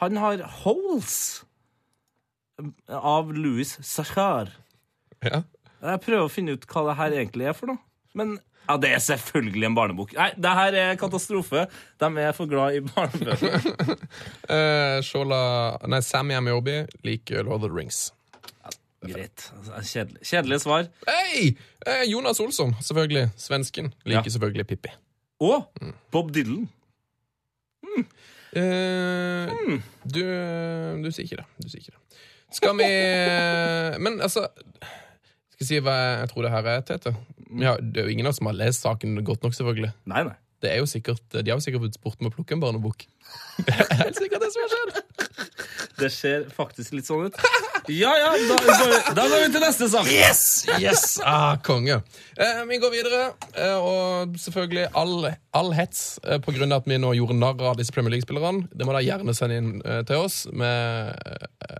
Speaker 4: Han har Holes av Louis Sachar.
Speaker 3: Ja.
Speaker 4: Jeg prøver å finne ut hva det her egentlig er for noe. Men ja, det er selvfølgelig en barnebok. Nei, det her er katastrofe. De er for glad i
Speaker 3: [laughs]
Speaker 4: barnebøker.
Speaker 3: Eh, Shola, nei, Sam Yamiobi liker Lord of the Rings.
Speaker 4: Greit. Altså, Kjedelig. Kjedelige svar.
Speaker 3: Hei! Eh, Jonas Olsson, selvfølgelig. Svensken. Liker selvfølgelig Pippi.
Speaker 4: Og Bob Dylan.
Speaker 3: Eh, du, du sier ikke det. Du sier ikke det. Skal vi Men altså Skal jeg si hva jeg tror det her er, Tete? Vi har- det er jo ingen av oss som har lest saken godt nok, selvfølgelig.
Speaker 4: Nei, nei.
Speaker 3: Det er jo sikkert, de har jo sikkert blitt spurt om å plukke en barnebok. [laughs] Det er helt sikkert det som har skjedd.
Speaker 4: Det ser faktisk litt sånn ut. Ja, ja, da går vi, da går vi til neste sang.
Speaker 3: Yes! Yes! Ah, konge. Eh, vi går videre, eh, og selvfølgelig all, all hets eh, på grunn av at vi nå gjorde narr av disse Premier League-spillerne. Det må dere gjerne sende inn eh, til oss med eh,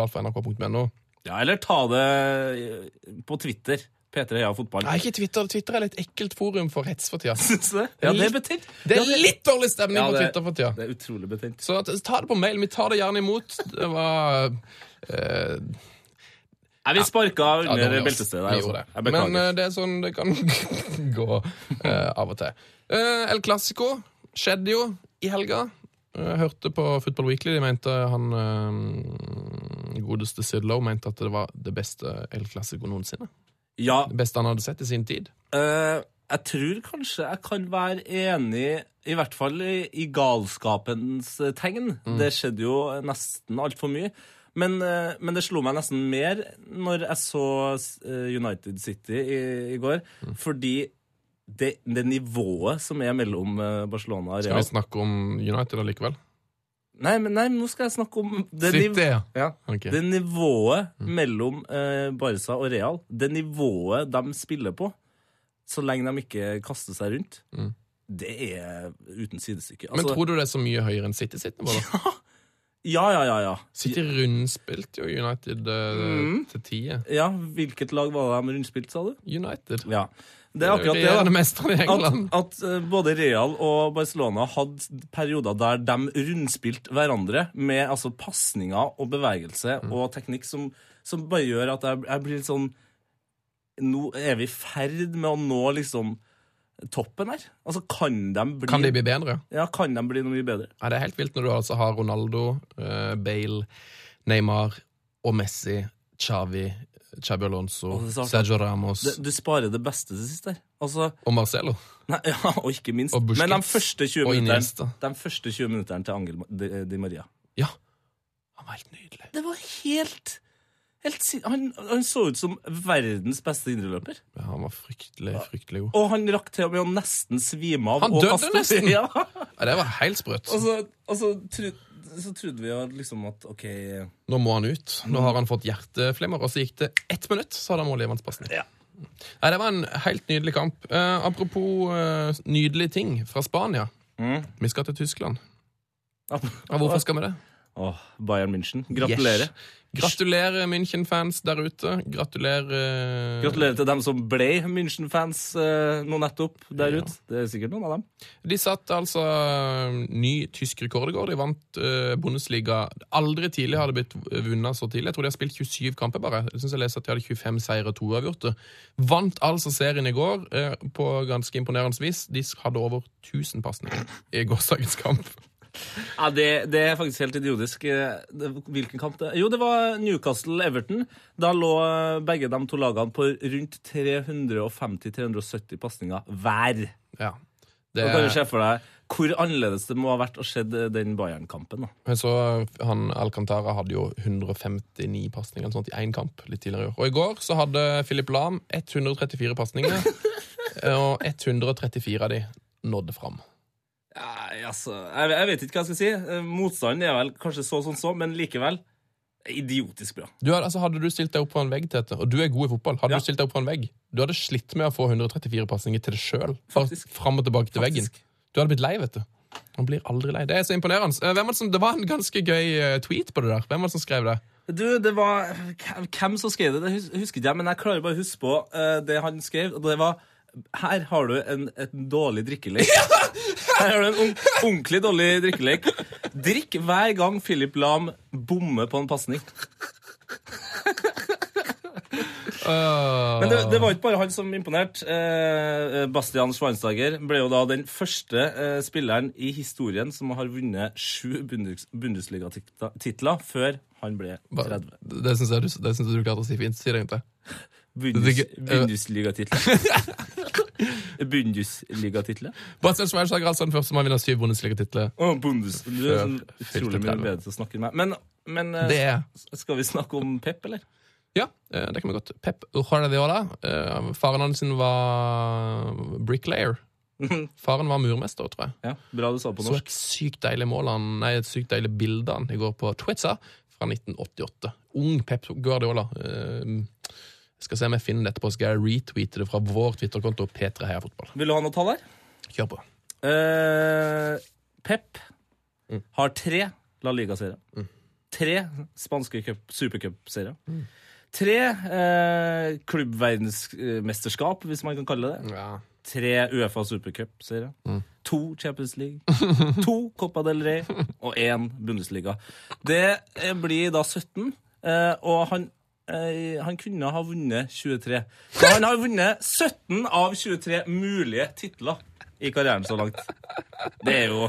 Speaker 3: heiafotballkrøllalfa.nrk.no.
Speaker 4: Ja, eller ta det på Twitter. P3 Heia Fotball. [laughs]
Speaker 3: Nei, ikke Twitter. Twitter er litt ekkelt forum for hets for tida.
Speaker 4: Syns du det? Ja, det er betent.
Speaker 3: Det
Speaker 4: Ja,
Speaker 3: er litt dårlig stemning
Speaker 4: Ja,
Speaker 3: på
Speaker 4: det-
Speaker 3: Twitter for tida.
Speaker 4: Det er utrolig betent.
Speaker 3: Så t- ta det på mail. Vi tar det gjerne imot. Det var eh,
Speaker 4: Nei, vi sparka
Speaker 3: ja,
Speaker 4: under
Speaker 3: dårlig av oss.
Speaker 4: beltestedet.
Speaker 3: Vi
Speaker 4: her,
Speaker 3: gjorde
Speaker 4: altså.
Speaker 3: det.
Speaker 4: Jeg
Speaker 3: Men eh,
Speaker 4: beklager.
Speaker 3: det er sånn det kan [laughs] gå eh, av og til. Eh, El Clásico skjedde jo i helga. Jeg hørte på Football Weekly. De mente han eh, godeste Sid Lowe mente at det var det beste El Clásico noensinne.
Speaker 4: Ja,
Speaker 3: Det beste han hadde sett i sin tid.
Speaker 4: Eh, jeg tror kanskje jeg kan være enig, i hvert fall i, i galskapens eh, tegn.
Speaker 3: Mm.
Speaker 4: Det skjedde jo nesten altfor mye. Men, eh, men det slo meg nesten mer når jeg så eh, United City i, i går,
Speaker 3: Mm.
Speaker 4: fordi det, det nivået som er mellom eh, Barcelona og
Speaker 3: Skal vi
Speaker 4: Real
Speaker 3: snakke om United allikevel?
Speaker 4: Nei, men nei, men nå skal jeg snakke om det niv-
Speaker 3: City, ja.
Speaker 4: Ja.
Speaker 3: Ok.
Speaker 4: Det nivået mellom eh, Barca og Real, det nivået de spiller på, så lenge de ikke kaster seg rundt,
Speaker 3: Mm.
Speaker 4: det er uten sidestykke.
Speaker 3: Men
Speaker 4: Altså,
Speaker 3: tror du det er så mye høyere enn City sitt
Speaker 4: [laughs]
Speaker 3: nivå? da?
Speaker 4: ja, ja, ja, ja.
Speaker 3: City rundspilte jo United eh,
Speaker 4: Mm.
Speaker 3: til tie.
Speaker 4: ja. Hvilket lag var det de rundspilte, sa du?
Speaker 3: United.
Speaker 4: Ja. Det er akkurat
Speaker 3: det. er jo
Speaker 4: det.
Speaker 3: det mesteren i
Speaker 4: At,
Speaker 3: England.
Speaker 4: at eh, både Real og Barcelona hadde perioder der de rundspilte hverandre med altså, pasninger og bevegelse
Speaker 3: Mm.
Speaker 4: og teknikk som, som bare gjør at jeg, jeg blir litt sånn Nå er vi i ferd med å nå liksom toppen her. Altså, kan de bli,
Speaker 3: Kan de bli bedre?
Speaker 4: Ja, kan de bli noe mye bedre?
Speaker 3: Ja, det er helt vilt når du altså har Ronaldo, eh, Bale, Neymar og Messi, Xavi, Xabi Alonso,
Speaker 4: Å, det er så artig.
Speaker 3: Sergio Ramos
Speaker 4: Det, du sparer det beste til sist der. Altså,
Speaker 3: og Marcelo.
Speaker 4: nei, [laughs] ja, og ikke minst.
Speaker 3: Og Busquets
Speaker 4: Men de første 20
Speaker 3: og
Speaker 4: minutterne
Speaker 3: Iniesta.
Speaker 4: de første 20 minutterne til Angel Di, Di Maria
Speaker 3: Ja, han var helt nydelig.
Speaker 4: Det var helt, helt sin- han, han så ut som verdens beste indreløper.
Speaker 3: Ja, han var fryktelig, fryktelig god.
Speaker 4: Og han rakk til og med å nesten svime av.
Speaker 3: Han
Speaker 4: og
Speaker 3: døde
Speaker 4: kaste-
Speaker 3: nesten!
Speaker 4: [laughs] Ja,
Speaker 3: Ja, det var helt sprøt.
Speaker 4: altså, altså tru, så trodde vi jo liksom at OK
Speaker 3: Nå må han ut. Nå har han fått hjerteflimmer. Og så gikk det ett minutt, så hadde han mål i vannspasning.
Speaker 4: Ja.
Speaker 3: Nei, det var en helt nydelig kamp. Eh, apropos eh, nydelige ting fra Spania.
Speaker 4: Mm.
Speaker 3: Vi skal til Tyskland.
Speaker 4: ap-
Speaker 3: Ja, hvorfor skal vi det?
Speaker 4: Åh, Bayern München. Gratulerer.
Speaker 3: Yes. Gratulerer München-fans der ute. Gratulerer eh,
Speaker 4: Gratulerer til dem som ble München-fans eh, nå nettopp der
Speaker 3: Ja.
Speaker 4: ute. Det er sikkert noen av dem.
Speaker 3: De satte altså eh, ny tysk rekord i går. De vant eh, Bundesliga. Aldri tidligere har det blitt vunnet så tidlig. Jeg tror de har spilt 27 kamper bare. Jeg synes jeg leser at de hadde 25 seire og to uavgjorte. Vant altså serien i går eh, på ganske imponerende vis. De hadde over 1000 pasninger i gårsdagens kamp.
Speaker 4: Ja, det, det er faktisk helt idiotisk. Eh, det- Hvilken kamp det Jo, det var Newcastle-Everton. Da lå eh, begge de to lagene på rundt 350-370 pasninger hver.
Speaker 3: Ja.
Speaker 4: Da
Speaker 3: Det,
Speaker 4: kan du se for deg hvor annerledes det må ha vært å se den Bayern-kampen. da.
Speaker 3: jeg så han Alcantara hadde jo 159 pasninger eller sånt i én kamp litt tidligere i år. Og i går så hadde Philip Lahm 134
Speaker 4: [laughs]
Speaker 3: pasninger, eh, og 134 av de nådde fram.
Speaker 4: Nei, altså, jeg, jeg vet ikke hva jeg skal si. Eh, Motstanden er vel kanskje så sånn så, men likevel idiotisk bra.
Speaker 3: Du hadde, altså, hadde du stilt deg opp på en vegg, Tete, og du er god i fotball Hadde
Speaker 4: Ja.
Speaker 3: du stilt deg opp på en vegg, du hadde slitt med å få 134 pasninger til deg sjøl.
Speaker 4: Faktisk.
Speaker 3: Fram og tilbake til
Speaker 4: Faktisk.
Speaker 3: veggen. Du hadde blitt lei, vet du. Han blir aldri lei. Det er så imponerende. Eh, Hvem var det, som, det var en ganske gøy eh, tweet på det der. Hvem var det som skrev det?
Speaker 4: Du, det var hvem- Hvem som skrev det? Det hus- husker ikke jeg, men jeg klarer bare å huske på eh, det han skrev. Og det var Her har du en, et dårlig [laughs] drikkelek. Her har du en ung- ordentlig dårlig drikkelek. Drikk hver gang Philip Lahm bommer på en pasning. Men det, det var ikke bare han som imponerte. Eh, Bastian Schweinsteiger ble jo da den første eh, spilleren i historien som har vunnet sju Bundes Bundesliga-titler før han ble
Speaker 3: Hva-
Speaker 4: 30.
Speaker 3: Det syns jeg, du- det synes jeg du klarte å si fint. Si det egentlig.
Speaker 4: Bundes,
Speaker 3: Det- det- [laughs]
Speaker 4: Bundesligatitler. Bundesligatitler?
Speaker 3: Bastian Schweinsteiger er altså den første som har vunnet syv Bundesliga-titler.
Speaker 4: Å, Bundes... Du er sånn
Speaker 3: Fylte
Speaker 4: utrolig mye
Speaker 3: tærer.
Speaker 4: bedre til å snakke enn meg. Men, men eh,
Speaker 3: Det er
Speaker 4: skal vi snakke om Pep, eller?
Speaker 3: Ja, eh, det kan vi godt. Pep Guardiola. eh, Faren hans sin var
Speaker 4: [laughs]
Speaker 3: bricklayer. Faren var murmester, tror jeg.
Speaker 4: Ja, Bra du sa på
Speaker 3: Så
Speaker 4: norsk.
Speaker 3: et sykt deilig mål han, nei, et sykt deilig bilde han i går på Twitter fra 1988. Ung Pep Guardiola. Eh, Jeg skal se om jeg finner det etterpå, så skal jeg retweete det fra vår Twitter-konto P3 Heia Fotball.
Speaker 4: Vil du ha noe tall her?
Speaker 3: Kjør på.
Speaker 4: Eh, Pep
Speaker 3: Mm.
Speaker 4: har tre La Liga-serier. Tre spanske cup- supercup-serier.
Speaker 3: Mm.
Speaker 4: Tre eh, klubbverdensmesterskap, hvis man kan kalle det det.
Speaker 3: Ja.
Speaker 4: Tre Uefa supercup-serier.
Speaker 3: Mm.
Speaker 4: To Champions League.
Speaker 3: [laughs]
Speaker 4: to Copa del Rey. Og én Bundesliga. Det eh, blir da 17, eh, og han eh, han kunne ha vunnet 23. Så han har vunnet 17 av 23 mulige titler i karrieren så langt. Det er jo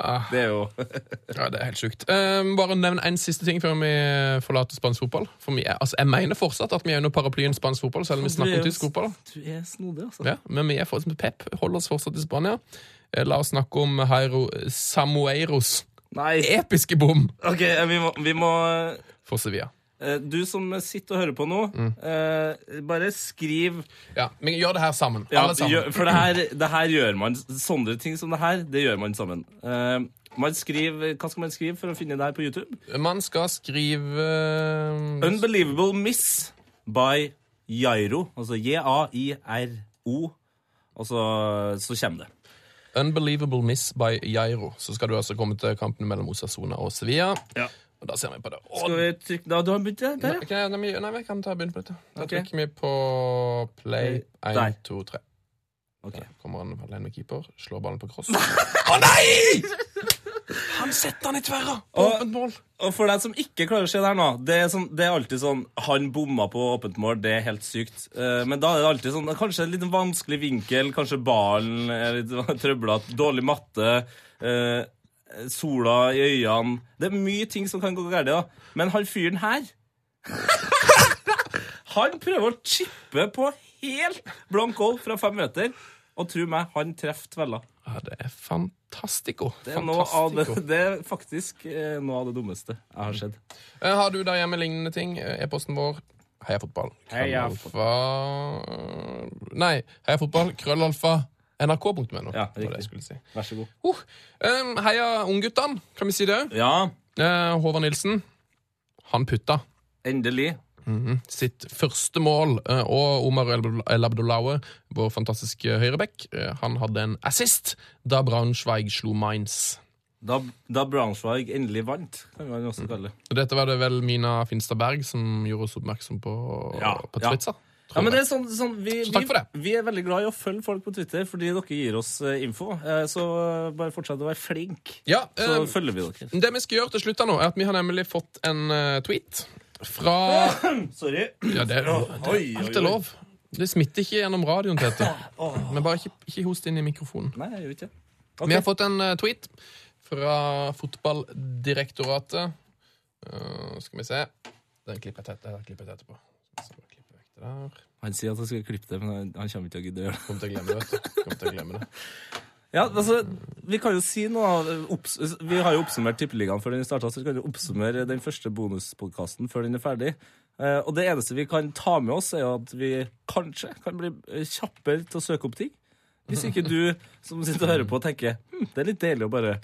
Speaker 3: Ah.
Speaker 4: Det er jo
Speaker 3: Ja, det er helt sjukt. Eh, bare nevn en siste ting før vi forlater spansk fotball. For vi er, altså, jeg mener fortsatt at vi er under paraplyen spansk fotball, selv om vi snakker om tysk fotball.
Speaker 4: Du er snodig, altså.
Speaker 3: Ja, men vi er fortsatt Pep, holder oss fortsatt i Spania. Eh, La oss snakke om Jairo Samueiros
Speaker 4: Nei,
Speaker 3: episke bom
Speaker 4: OK, eh, vi må, vi må
Speaker 3: for Sevilla.
Speaker 4: eh, Du som sitter og hører på nå,
Speaker 3: Mm.
Speaker 4: eh, bare skriv
Speaker 3: Ja, men gjør det her sammen.
Speaker 4: Ja,
Speaker 3: Alle sammen.
Speaker 4: gjør- for det her, det her gjør man Sånne ting som det her, det gjør man sammen. Eh, man skriver, Hva skal man skrive for å finne det her på YouTube?
Speaker 3: Man skal skrive eh,
Speaker 4: Unbelievable Miss by Jairo. Altså J-A-I-R-O. Og så, så kommer det.
Speaker 3: Unbelievable Miss by Jairo. Så skal du altså komme til kampen mellom Osasona og Sevilla. Og da ser vi på det. Å,
Speaker 4: Skal vi trykke da? Du har begynt der, der,
Speaker 3: nei,
Speaker 4: ja?
Speaker 3: ok, nei, vi- nei, vi kan ta begynne på dette. Da
Speaker 4: Ok.
Speaker 3: trykker vi på play.
Speaker 4: Der.
Speaker 3: Én, to, tre.
Speaker 4: Ok.
Speaker 3: Der Kommer han alene med keeper, slår ballen på cross.
Speaker 2: Han setter han i tverra!
Speaker 3: Åpent mål!
Speaker 4: Og for deg som ikke klarer å se det her nå, det er, sånn, det er alltid sånn Han bomma på åpent mål, det er helt sykt. Eh, men da er det alltid sånn Kanskje en litt vanskelig vinkel, kanskje ballen er litt [laughs] trøblete, dårlig matte, eh, sola i øynene Det er mye ting som kan gå galt, da. Men han fyren her [laughs] Han prøver å chippe på helt blank goal fra fem meter, og tro meg, han treffer tvella.
Speaker 3: Ja, det er fantastico.
Speaker 4: Det er, noe av det,
Speaker 3: Fantastico.
Speaker 4: det er faktisk eh, noe av det dummeste jeg har sett.
Speaker 3: Eh, Har du der hjemme lignende ting? Eh, E-posten vår heiafotball.
Speaker 4: Heia
Speaker 3: Krøllalfa Nei, heiafotball, krøllalfa NRK.no.
Speaker 4: Ja,
Speaker 3: var det
Speaker 4: riktig.
Speaker 3: jeg skulle si.
Speaker 4: Vær så god.
Speaker 3: Uh, um, heia ungguttene, kan vi si det òg.
Speaker 4: Ja,
Speaker 3: Håvard Nilsen. Han putta
Speaker 4: endelig.
Speaker 3: sitt første mål, eh, og Omar El- El Abdullawe, vår fantastiske høyrebekk, eh, han hadde en assist da Braunschweig slo Mainz.
Speaker 4: Da, da Braunschweig endelig vant, kan man også kalle det.
Speaker 3: Og Dette var det vel Mina Finstad Berg som gjorde oss oppmerksom på
Speaker 4: Ja,
Speaker 3: på
Speaker 4: ja.
Speaker 3: Twitter.
Speaker 4: Ja, men det er sånn, sånn, vi,
Speaker 3: Så takk for det.
Speaker 4: Vi, vi er veldig glad i å følge folk på Twitter, fordi dere gir oss eh, info. Eh, så eh, bare fortsett å være flink,
Speaker 3: ja,
Speaker 4: så
Speaker 3: eh,
Speaker 4: følger vi dere.
Speaker 3: det vi skal gjøre til slutt her nå, er at vi har nemlig fått en eh, tweet fra
Speaker 4: Sorry.
Speaker 3: Ja, det, det,
Speaker 4: Oi, oi,
Speaker 3: alt er
Speaker 4: oi.
Speaker 3: lov. Det smitter ikke gjennom radioen, Tete. Men bare ikke, ikke host inn i mikrofonen.
Speaker 4: Nei, jeg gjør ikke det.
Speaker 3: Vi har fått en eh, tweet fra Fotballdirektoratet. Eh, skal vi se Den klipper jeg tett, den klipper jeg tett på. Så bare klipper jeg vekk det der.
Speaker 4: Han sier at han skal klippe det, men han, han kommer ikke til å gidde å gjøre det.
Speaker 3: Kommer til å glemme det. vet du. Kommer til å glemme det.
Speaker 4: Ja, altså, Vi kan jo si noe av- eh, opps Vi har jo oppsummert Tippeligaen før den starta, så vi kan jo oppsummere den første bonuspodkasten før den er ferdig. Eh, og det eneste vi kan ta med oss, er jo at vi kanskje kan bli eh, kjappere til å søke opp ting. Hvis ikke du som sitter og hører på, tenker hm, det er litt deilig å bare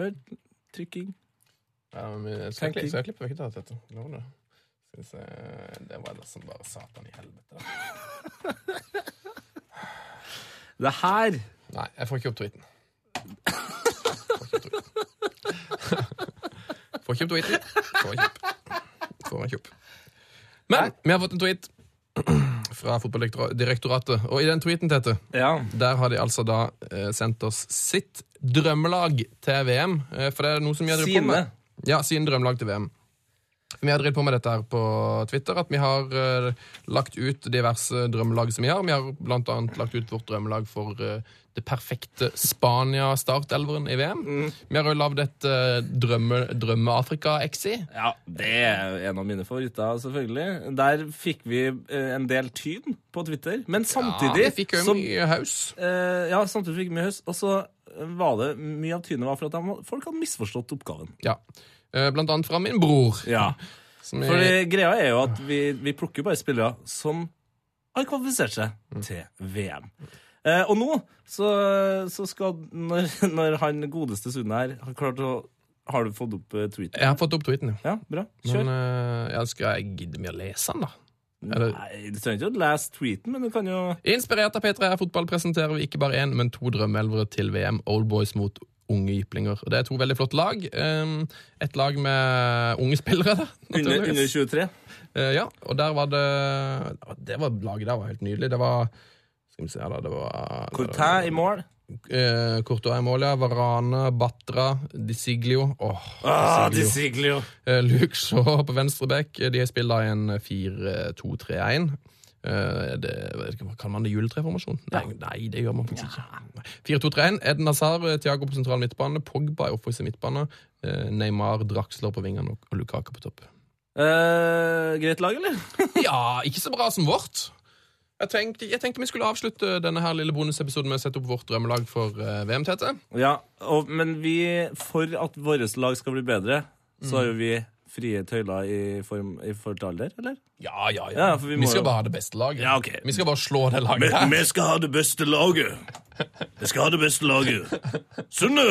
Speaker 4: høre trykking.
Speaker 3: Ja, men vi- skal jeg, klippe- skal jeg klippe vekk det der, Tete? Lover det. Skal vi se Det var liksom bare satan i helvete.
Speaker 4: Det her
Speaker 3: Nei, jeg får ikke opp tweeten. Får ikke opp tweeten. Får ikke opp tweeten. Får ikke opp. Får ikke opp. Men vi har fått en tweet fra Fotballdirektoratet, og i den tweeten, Tete,
Speaker 4: Ja.
Speaker 3: der har de altså da eh, sendt oss sitt drømmelag til VM, eh, for det er noe som vi har drevet på med.
Speaker 4: Sine.
Speaker 3: Ja, sine drømmelag til VM. Vi har drevet på med dette her på Twitter, at vi har eh, lagt ut diverse drømmelag som vi har. Vi har blant annet lagt ut vårt drømmelag for eh, det perfekte Spania-startelveren i VM.
Speaker 4: Mm.
Speaker 3: Vi har jo lagd et eh, drømme- drømme-Afrika-exi.
Speaker 4: Ja, det er jo en av mine favoritter, selvfølgelig. Der fikk vi eh, en del tyn på Twitter, men samtidig
Speaker 3: ja, vi fikk jo
Speaker 4: så-
Speaker 3: mye haus.
Speaker 4: Eh, ja, samtidig fikk vi mye høst. Og så eh, var det mye av tynet var for at de, folk hadde misforstått oppgaven.
Speaker 3: Ja. Eh, Blant annet fra min bror.
Speaker 4: Ja,
Speaker 3: Som
Speaker 4: For
Speaker 3: er,
Speaker 4: greia er jo at vi, vi plukker jo bare spillere som har kvalifisert seg til VM. Eh, og nå så, så skal når, når han godeste Sune her har klart å Har du fått opp eh, tweeten?
Speaker 3: jeg har fått opp tweeten, jo.
Speaker 4: Ja, bra.
Speaker 3: Men
Speaker 4: Kjør.
Speaker 3: eh, ja, skal jeg gidde mye å lese den, da? eller-
Speaker 4: Nei, du trenger ikke å lese tweeten, men du kan jo
Speaker 3: Inspirert av P3 Fotball presenterer vi ikke bare én, men to drømmeelvere til VM. Oldboys mot unge jyplinger. Og Det er to veldig flott lag. Um, Et lag med unge spillere, da.
Speaker 4: Under,
Speaker 3: naturligvis.
Speaker 4: under 23.
Speaker 3: Eh, Ja, og der var det Det var laget der var helt nydelig. Det var Skal vi se her, da. Det var
Speaker 4: Cortin i mål.
Speaker 3: Eh, Courtois i mål, ja. Varane, Batra, Di Siglio. Åh,
Speaker 4: Ah,
Speaker 3: Di
Speaker 4: de
Speaker 3: Siglio.
Speaker 4: sigler jo!
Speaker 3: Eh, Luke Shaw på venstre bekk. De har spilt da i en eh, 4-2-3-1. Eh, det- vet ikke, Kan man det juletreformasjon? Nei, nei, det gjør man faktisk ikke. 4-2-3-1. Eden Hazar, eh, Thiago på sentral midtbane. Pogba i offensiv midtbane. eh, Neymar, Draxler på vingene og og Lukaku på topp.
Speaker 4: Eh, greit lag, eller?
Speaker 3: Ja, ikke så bra som vårt. Jeg tenkte, jeg tenkte vi skulle avslutte denne her lille bonusepisoden med å sette opp vårt drømmelag for eh, VM, Tete.
Speaker 4: Ja, og, men vi, for at vårt lag skal bli bedre, så har jo vi frie tøyler i, form, i forhold til alder, eller?
Speaker 3: Ja, ja, ja.
Speaker 4: Ja, for
Speaker 3: vi,
Speaker 4: vi må
Speaker 3: skal
Speaker 4: jo-
Speaker 3: bare ha det beste laget.
Speaker 4: Ja, ok.
Speaker 3: Vi skal bare slå det laget her.
Speaker 4: Vi skal ha det beste laget. Vi skal ha det beste laget. Sunne,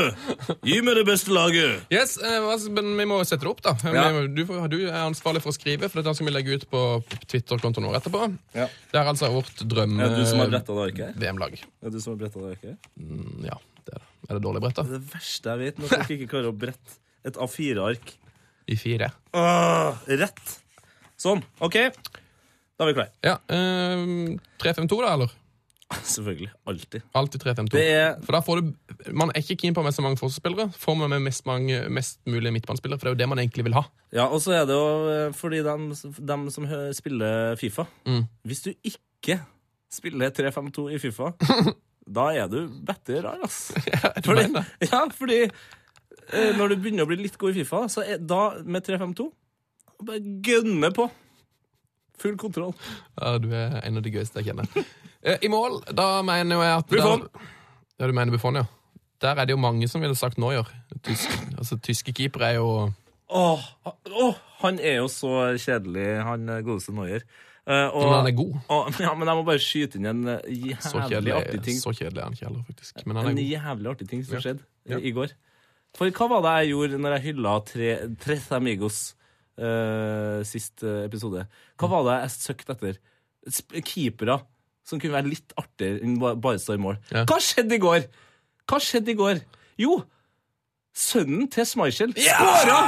Speaker 4: gi meg det beste laget.
Speaker 3: Yes, eh, altså, men vi må sette det opp, da.
Speaker 4: Ja.
Speaker 3: Vi- Du, får- du er ansvarlig for å skrive, for dette skal vi legge ut på Twitter-kontoen vår etterpå.
Speaker 4: Ja.
Speaker 3: Det er altså vårt
Speaker 4: Er det du som har bretta det arket? her?
Speaker 3: drømme-VM-lag.
Speaker 4: Er det du som har bretta det arket? her?
Speaker 3: Ja, det er det. Er det dårlig brett, da?
Speaker 4: Det verste jeg vet, når folk ikke klarer å brette et A4-ark
Speaker 3: I fire.
Speaker 4: Ah, rett. Sånn. OK. Da er vi klare.
Speaker 3: Ja, eh, 3-5-2, da, eller?
Speaker 4: Selvfølgelig. Alltid.
Speaker 3: Alltid 3-5-2.
Speaker 4: Det er
Speaker 3: For da får du, Man er ikke keen på med så mange forsvarsspillere. Får man med mest, mange, mest mulig midtbanespillere, for det er jo det man egentlig vil ha.
Speaker 4: Ja, og så er det jo eh, fordi dem, dem som hø- spiller Fifa
Speaker 3: Mm.
Speaker 4: Hvis du ikke spiller 3-5-2 i Fifa,
Speaker 3: [laughs]
Speaker 4: da er du bedre rar, ass. Fordi,
Speaker 3: mener
Speaker 4: [laughs] ja, fordi eh, når du begynner å bli litt god i Fifa, så er da med 3-5-2 Bare gønne på. Full kontroll.
Speaker 3: Ja, du er en av de gøyeste jeg kjenner. Eh, I mål, da mener jo jeg at
Speaker 4: Buffon.
Speaker 3: Der, ja, du mener Buffon, ja. Der er det jo mange som ville sagt Neuer. Tysk, altså, tyske keepere er jo
Speaker 4: Åh, åh, han er jo så kjedelig, han eh, godeste Noyer. Eh, og,
Speaker 3: Men han er god.
Speaker 4: Og, [laughs] ja, men jeg må bare skyte inn en eh,
Speaker 3: Så
Speaker 4: jævlig artig
Speaker 3: kjedelig,
Speaker 4: ting.
Speaker 3: så kjedelig er han ikke heller, faktisk. Men han er
Speaker 4: En
Speaker 3: god.
Speaker 4: jævlig artig ting som
Speaker 3: Ja.
Speaker 4: skjedde i-
Speaker 3: Ja.
Speaker 4: i går. For hva var det jeg gjorde når jeg hylla tre, Tres Amigos eh, sist eh, episode? Hva var det jeg søkte etter? Sp keepere som kunne være litt artigere enn ba- bare stå i mål.
Speaker 3: Ja.
Speaker 4: Hva skjedde i går? Hva skjedde i går? Jo, sønnen til Schmeichel skåra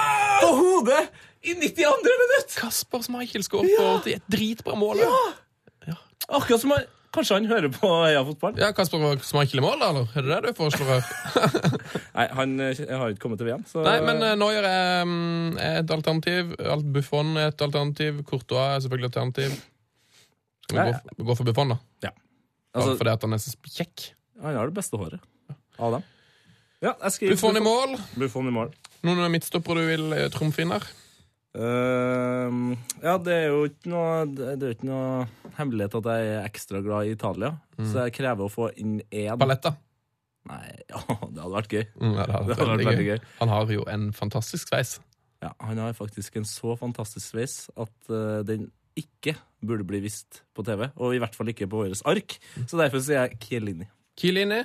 Speaker 4: på hodet i 92. minutt!
Speaker 3: Kasper Schmeichel skåret på det er et dritbra mål. Ja.
Speaker 4: Akkurat som han, Kanskje han hører på Heia fotball?
Speaker 3: ja, Kasper Schmeichel i mål, da, eller? Er det det du foreslår? her? [laughs]
Speaker 4: Nei, han eh, har ikke kommet til VM, så
Speaker 3: Nei, men uh, Neuer er, mm, er et alternativ. Alt Buffon er et alternativ. Courtois er selvfølgelig et alternativ. Vi
Speaker 4: Nei.
Speaker 3: går, vi går for Buffon, da.
Speaker 4: altså,
Speaker 3: Fordi at han er så kjekk.
Speaker 4: Han har det beste håret av dem. Ja, jeg skriver
Speaker 3: Buffon i mål.
Speaker 4: Buffon i mål.
Speaker 3: Noen midtstoppere du vil eh, trumfe inn her?
Speaker 4: Ehm, ja, det er jo ikke noe Det det er jo ikke noe hemmelighet at jeg er ekstra glad i Italia.
Speaker 3: Mm.
Speaker 4: Så jeg krever å få inn én
Speaker 3: Paletta.
Speaker 4: Nei, [laughs] ja, det hadde vært gøy.
Speaker 3: Mm, ja, det hadde
Speaker 4: Det
Speaker 3: vært veldig gøy.
Speaker 4: gøy.
Speaker 3: Han har jo en fantastisk sveis.
Speaker 4: Ja, han har faktisk en så fantastisk sveis at eh, den ikke burde bli vist på TV. Og i hvert fall ikke på våres ark. Så derfor sier jeg Chiellini.
Speaker 3: Kielini.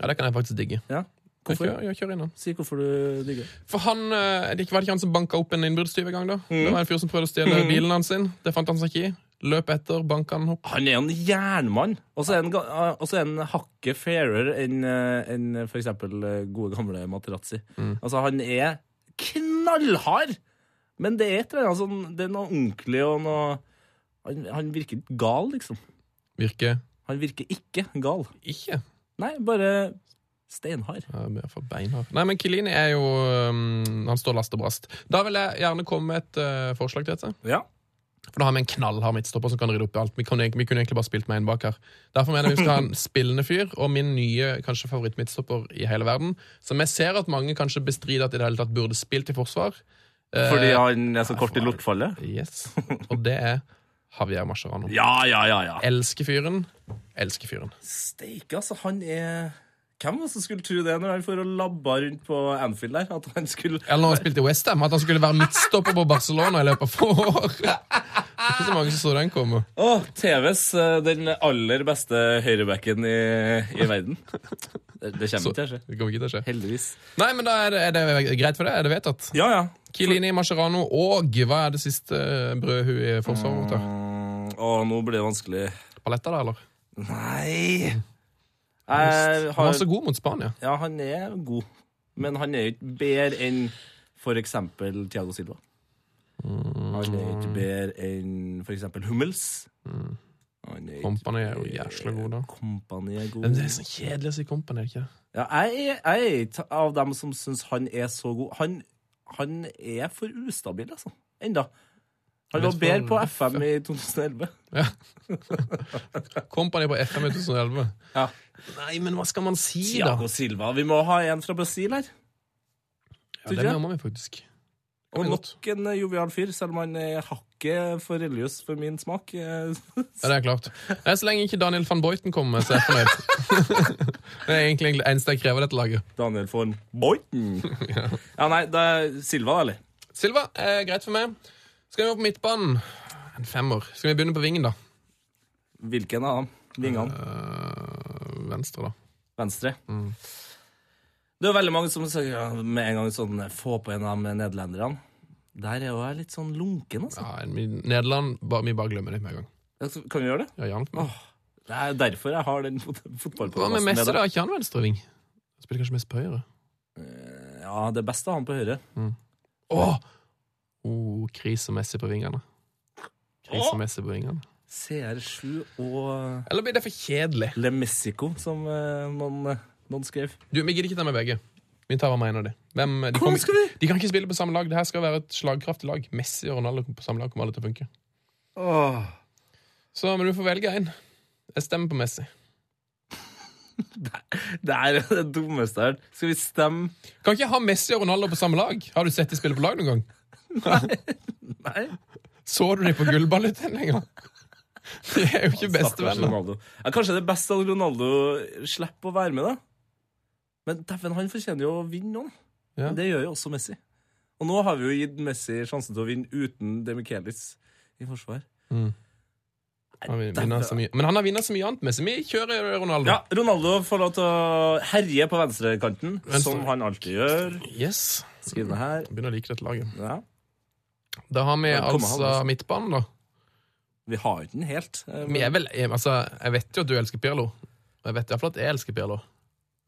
Speaker 3: Ja, det kan jeg faktisk digge.
Speaker 4: Ja,
Speaker 3: Jeg
Speaker 4: hvorfor?
Speaker 3: kjører, jeg kjører innom.
Speaker 4: Si hvorfor du digger det.
Speaker 3: For han, eh, er det ikke- Var det ikke han som banka opp en innbruddstyv en gang? da? Det var en fyr som prøvde å stjele bilen hans sin. Det fant han seg ikke i. Løp etter, banka han opp.
Speaker 4: Han er jo en jernmann, og så er han ga- eh, og så er han hakket fairer enn eh, enn for eksempel eh, gode gamle Materazzi. Altså, han er knallhard! Men det er et eller annet sånn Det er noe ordentlig og noe han, han virker ikke gal, liksom.
Speaker 3: Virker
Speaker 4: Han virker ikke gal.
Speaker 3: ikke.
Speaker 4: Nei, bare steinhard.
Speaker 3: Ja, men jeg får beinhard. Nei, men Kilini er jo um, Han står last og brast. Da vil jeg gjerne komme med et eh, forslag til dette.
Speaker 4: Ja.
Speaker 3: For da har vi en knallhard midtstopper som kan rydde opp i alt. Vi, kan, vi kunne egentlig bare spilt med en bak her. Derfor mener jeg vi skal ha en spillende fyr, og min nye kanskje favorittmidtstopper i hele verden, som jeg ser at mange kanskje bestrider at i det hele tatt burde spilt i forsvar. Eh,
Speaker 4: Fordi han er så kort i lortfallet?
Speaker 3: Yes. Og det er Javier Mascherano.
Speaker 4: Ja, ja, ja. ja.
Speaker 3: Elsker fyren. Elsker fyren.
Speaker 4: Steike, altså. Han er Hvem var det som skulle tro det når han får og labba rundt på Anfield der? At han skulle
Speaker 3: Eller når han spilte i Westham, at han skulle være midtstopper på Barcelona i løpet av få år. Det er ikke så mange som så den komme.
Speaker 4: Åh, TVs eh, den aller beste høyrebacken i, i verden. Det, det kommer ikke til å skje.
Speaker 3: [laughs] Det kommer ikke til å skje.
Speaker 4: Heldigvis.
Speaker 3: Nei, men da er det, er det greit for det? Er det vedtatt?
Speaker 4: Ja, ja.
Speaker 3: Kilini, Mascherano og hva er det siste brødhuet i forsvaret vårt? her?
Speaker 4: Mm, Åh, nå blir det vanskelig.
Speaker 3: Paletta, da, eller?
Speaker 4: Nei!
Speaker 3: Han
Speaker 4: Jeg
Speaker 3: var
Speaker 4: Eh, har,
Speaker 3: så god mot Spania.
Speaker 4: ja, han er god, men han er jo ikke bedre enn for eksempel Thiago Silva.
Speaker 3: Mm.
Speaker 4: Han er ikke bedre enn for eksempel Hummels. Han er ikke
Speaker 3: Mm. Kompani er jo jæsla god, da.
Speaker 4: Kompani er god.
Speaker 3: Men det er så kjedelig å si Kompani, er det ikke? det?
Speaker 4: Ja, jeg, er- jeg er ikke av dem som syns han er så god. Han, han er for ustabil, altså. Enda.
Speaker 3: Han
Speaker 4: Han
Speaker 3: er
Speaker 4: var
Speaker 3: for
Speaker 4: bedre på
Speaker 3: røff,
Speaker 4: FM i 2011.
Speaker 3: Kompani på FM i 2011.
Speaker 4: Ja.
Speaker 3: Nei, men hva skal man si, da?
Speaker 4: Thiago Silva. Vi må ha en fra Brasil her.
Speaker 3: Ja, det nærmer vi faktisk.
Speaker 4: Og
Speaker 3: vi godt.
Speaker 4: nok en eh, jovial fyr, selv om han er hakket for religiøs for min smak. eh, [laughs]
Speaker 3: Ja, det er klart. Nei, så lenge ikke Daniel van Boyten kommer, så er jeg fornøyd. [laughs] det er egentlig det eneste jeg krever av dette laget.
Speaker 4: Daniel von Boyten.
Speaker 3: [laughs]
Speaker 4: Ja, nei, det er Silva, eller?
Speaker 3: Silva er greit for meg. Skal vi opp på midtbanen? En femmer. Skal vi begynne på vingen, da?
Speaker 4: Hvilken av dem? Vingene?
Speaker 3: Eh, venstre, da.
Speaker 4: Venstre?
Speaker 3: mm.
Speaker 4: Det er jo veldig mange som sier ja, med en gang sånn Få på en av de nederlenderne. Der er jo jeg litt sånn lunken, altså.
Speaker 3: Ja, en- vi- Nederland bare, Vi bare glemmer det med en gang.
Speaker 4: Altså, Kan vi gjøre det?
Speaker 3: Ja, Jan,
Speaker 4: Åh, det er derfor jeg har den fot-
Speaker 3: Hva med
Speaker 4: fotballpodcasten
Speaker 3: Messi,
Speaker 4: med
Speaker 3: da?
Speaker 4: deg.
Speaker 3: Er Ikke han venstreving? Spiller kanskje mest på høyre.
Speaker 4: Ja, det beste er han på høyre.
Speaker 3: Åh! Oh, krise Messi på vingene. Krise Messi på vingene.
Speaker 4: CR7 og
Speaker 3: Eller blir det for kjedelig?
Speaker 4: Le Messico, som eh, noen, eh, noen skrev.
Speaker 3: Du, Vi gidder ikke ta med begge. Vi tar hver med en av de. Hvem, de,
Speaker 4: Hvordan
Speaker 3: kommer-
Speaker 4: skal vi?
Speaker 3: de kan ikke spille på samme lag. Det her skal være et slagkraftig lag. Messi og Ronaldo på samme lag kommer aldri til å funke. Så men du får velge en. Jeg stemmer på Messi.
Speaker 4: Det er [laughs] det dummeste jeg har hørt. Skal vi stemme?
Speaker 3: Kan ikke jeg ha Messi og Ronaldo på samme lag? Har du sett de spille på lag noen gang?
Speaker 4: Nei.
Speaker 3: Så du de på gullballutdelinga? De er jo ikke
Speaker 4: Stakkars
Speaker 3: bestevenner.
Speaker 4: Ronaldo. Ja, kanskje det er best at Ronaldo slipper å være med, da. Men dæven, han fortjener jo å vinne noen.
Speaker 3: Ja.
Speaker 4: Men Det gjør jo også Messi. Og nå har vi jo gitt Messi sjansen til å vinne uten Demichelis i forsvar.
Speaker 3: Mm. Han vil- vinner så mye. Men han har vunnet så mye annet med seg. Vi kjører Ronaldo.
Speaker 4: Ja, Ronaldo får lov til å herje på venstrekanten,
Speaker 3: Venstre.
Speaker 4: som han alltid gjør.
Speaker 3: Yes.
Speaker 4: Skriv det her.
Speaker 3: Jeg begynner å like dette laget.
Speaker 4: Ja.
Speaker 3: Da har vi
Speaker 4: Ja, kommer han,
Speaker 3: altså
Speaker 4: altså.
Speaker 3: midtbanen, da.
Speaker 4: Vi har jo ikke den helt. eh,
Speaker 3: Vi
Speaker 4: men-
Speaker 3: er vel, jeg, altså, jeg vet jo at du elsker Pirlo. Jeg vet iallfall at jeg elsker Pirlo.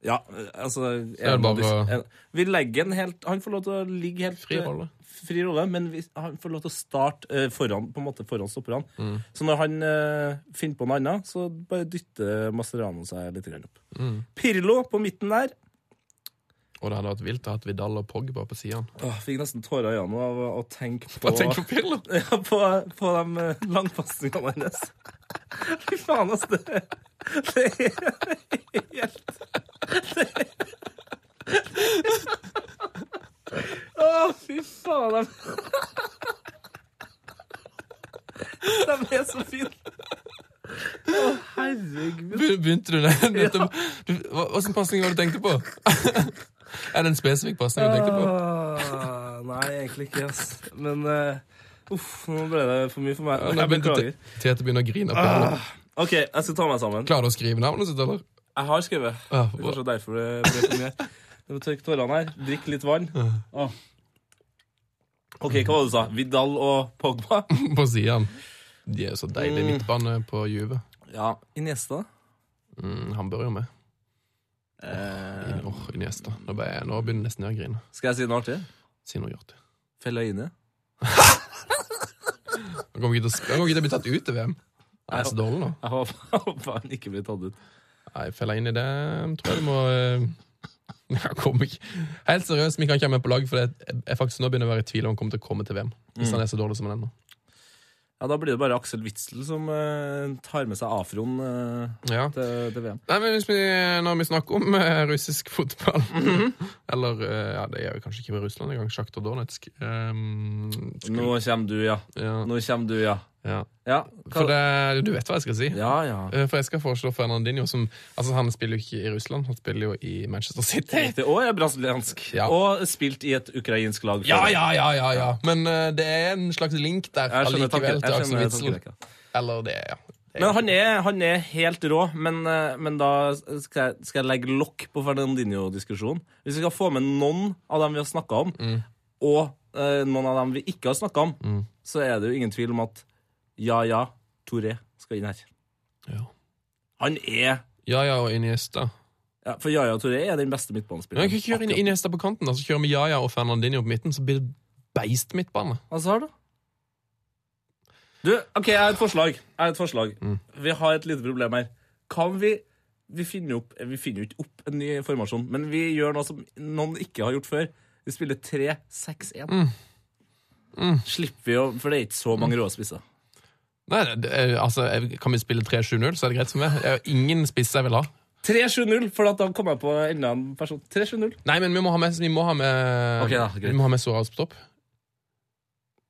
Speaker 4: Ja, altså
Speaker 3: er det
Speaker 4: en-
Speaker 3: bare å-
Speaker 4: en- Vi legger den helt Han får lov til å ligge helt eh,
Speaker 3: Fri rolle.
Speaker 4: fri rolle, men vi, han får lov til å starte eh, foran på en måte foran stopperne.
Speaker 3: Mm.
Speaker 4: Så når han eh, finner på noe annet, så bare dytter Mascherano seg litt grann opp.
Speaker 3: Mm.
Speaker 4: Pirlo på midten der.
Speaker 3: Og det hadde vært vilt å ha hatt Vidal og Pogba på siden
Speaker 4: Åh, fikk nesten tårer i øynene av å tenke på,
Speaker 3: Bare tenk på Pirlo!
Speaker 4: [laughs] ja, på, på de eh, langpasningene hennes. [laughs] Fy faen, altså. Det, det er helt [laughs] det er- Å, fy [laughs] faen. De, de er så fine. Å, herregud.
Speaker 3: Be- Begynte du der? nettopp? Du- hva- Hvilken pasning var det du tenkte på? [laughs] er det en spesifikk pasning du tenkte på?
Speaker 4: Åh, nei, egentlig ikke, ass. Men eh, uff, nå ble det for mye for meg.
Speaker 3: Nå
Speaker 4: Jeg
Speaker 3: begynte
Speaker 4: beklager.
Speaker 3: Te- Tete begynner å grine. på henne.
Speaker 4: OK, jeg skal ta meg sammen.
Speaker 3: Klarer du å skrive navnet sitt, eller? [laughs]
Speaker 4: Jeg har skrevet.
Speaker 3: Ja,
Speaker 4: Det er kanskje derfor det ble for mye. Du må tørke tårene her. Drikk litt vann. Å. OK, hva var det du sa? Vidal og Pogba?
Speaker 3: På siden De er jo så deilige midtbane på Juve.
Speaker 4: Ja. Iniesta?
Speaker 3: Mm, han bør jo med.
Speaker 4: Eh,
Speaker 3: Åh, Iniesta. Nå, ble jeg, nå begynner jeg nesten jeg å grine.
Speaker 4: skal jeg si noe artig?
Speaker 3: Si noe, Hjorti.
Speaker 4: Fellaini?
Speaker 3: Han kommer ikke til å sp- han kommer ikke til å bli tatt ut til VM. Han er så dårlig nå.
Speaker 4: Jeg håper, jeg håper han ikke blir tatt ut.
Speaker 3: Nei, feller inn i det, tror jeg du må eh, [laughs] Jeg kommer ikke Helt seriøst, vi kan ikke ha med på lag, for det- jeg, jeg faktisk nå begynner å være i tvil om han kommer til å komme til VM. Hvis han er så dårlig som han er nå.
Speaker 4: Ja, Da blir det bare Aksel Witzel som eh, tar med seg afroen eh,
Speaker 3: Ja.
Speaker 4: til, til VM.
Speaker 3: Nei, men hvis vi, Når vi snakker om eh, russisk fotball
Speaker 4: Mhm.
Speaker 3: [laughs] Eller eh, ja, det er jo kanskje ikke Russland engang. Sjakta Donetsk. Ehm,
Speaker 4: Nå kommer du, ja.
Speaker 3: ja,
Speaker 4: Nå kommer du, ja.
Speaker 3: ja.
Speaker 4: Ja,
Speaker 3: For
Speaker 4: hva-
Speaker 3: det, du vet hva jeg skal si.
Speaker 4: ja, ja.
Speaker 3: Eh, For jeg skal foreslå Fernandinho, som altså han spiller jo ikke i Russland, han spiller jo i Manchester City.
Speaker 4: Riktig. Og er brasiliansk.
Speaker 3: Ja.
Speaker 4: Og spilt i et ukrainsk lag. før.
Speaker 3: [laughs] Ja, ja, ja, ja, ja. Men eh, det er en slags link der
Speaker 4: Jeg skjønner
Speaker 3: allikevel
Speaker 4: tanken-
Speaker 3: til
Speaker 4: jeg
Speaker 3: Axel
Speaker 4: skjønner
Speaker 3: Witzel.
Speaker 4: tankerekka.
Speaker 3: Eller det, ja. Det er-
Speaker 4: Men han er, han er helt rå, men, eh, men da skal jeg, skal jeg legge lokk på Fernandinho-diskusjonen. Hvis vi skal få med noen av dem vi har snakka om,
Speaker 3: Mm.
Speaker 4: og eh, noen av dem vi ikke har snakka om, så er det jo ingen tvil om at ja, ja, Touré skal inn her.
Speaker 3: ja.
Speaker 4: Han er
Speaker 3: ja, ja, og Iniesta.
Speaker 4: ja, For Jaja Touré er den beste
Speaker 3: Men
Speaker 4: midtbanespilleren.
Speaker 3: jeg kan ikke kjøre inn Iniesta på kanten, da, så kjører vi Jaja og Fernandinho på midten, så blir det beist midtbane.
Speaker 4: Altså, har du? Du, OK, jeg har et forslag. Jeg har et forslag. Vi har et lite problem her. Kan vi Vi finner opp Vi finner jo ikke opp en ny formasjon, men vi gjør noe som noen ikke har gjort før. Vi spiller 3-6-1. Mm. Slipper vi å For det er ikke så mange rå spisser.
Speaker 3: Nei, det, er- altså, jeg- Kan vi spille 3-7-0, så er det greit for meg. Det er jo ingen spisser jeg vil ha.
Speaker 4: 3-7-0, for at da kom jeg på enda en person. 3-7-0.
Speaker 3: Nei, men vi må ha med, vi må ha med,
Speaker 4: Ok, da, greit.
Speaker 3: vi må ha med Suarez på topp.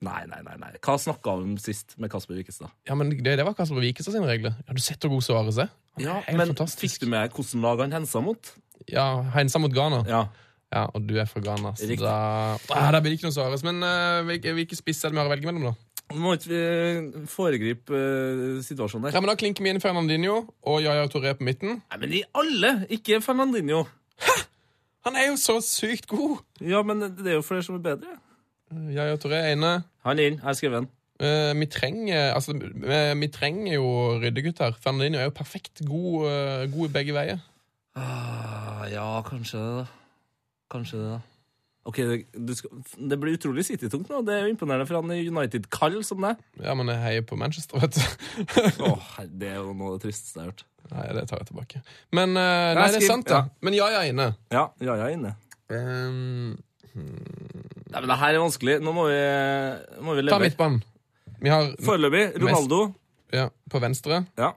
Speaker 4: Nei, nei, nei. nei. Hva snakka vi om sist med Kasper Wikestad?
Speaker 3: Ja, men Det, det var Kasper Wikestad sine regler. Ja, du sett hvor god Suarez er? Han er
Speaker 4: Ja,
Speaker 3: helt
Speaker 4: men
Speaker 3: fantastisk.
Speaker 4: fikk du med hvordan lag han hensa mot?
Speaker 3: Ja, Heinsa mot Ghana.
Speaker 4: Ja.
Speaker 3: Ja, og du er fra Ghana, så
Speaker 4: Riktig.
Speaker 3: da ah, Da blir det ikke noe Suarez. Men eh, hvil- hvilke spisser er det vi har å velge mellom, da?
Speaker 4: Nå må ikke vi foregripe eh, situasjonen der.
Speaker 3: Ja, men Da klinker vi inn Fernandinho og Yaya Touré på midten.
Speaker 4: Nei, men i alle! Ikke Fernandinho.
Speaker 3: Han er jo så sykt god!
Speaker 4: Ja, men det er jo flere som er bedre.
Speaker 3: Yaya Touré er inne.
Speaker 4: Han er inn. Jeg har skrevet den.
Speaker 3: Eh, vi, trenger, altså, vi, vi trenger jo ryddegutt her. Fernandinho er jo perfekt god, eh, god i begge veier.
Speaker 4: Ah, ja, kanskje det, da. Kanskje det, da. Ok, det, du skal, det blir utrolig City-tungt nå. Det er jo imponerende for han er United-kall som deg.
Speaker 3: Ja, men jeg heier på Manchester, vet du. [laughs]
Speaker 4: Å, herre, det er jo noe av det tristeste jeg har hørt.
Speaker 3: nei, det tar jeg tilbake. Men eh, Nei, det
Speaker 4: skriv-
Speaker 3: er sant, det.
Speaker 4: ja.
Speaker 3: Men Yaya er inne.
Speaker 4: Ja, ja, jeg er inne.
Speaker 3: Um,
Speaker 4: Nei, men det her er vanskelig. Nå må vi, må vi
Speaker 3: ta
Speaker 4: levere.
Speaker 3: midtbanen. Vi har
Speaker 4: Foreløpig Ronaldo.
Speaker 3: ja, på venstre
Speaker 4: Ja.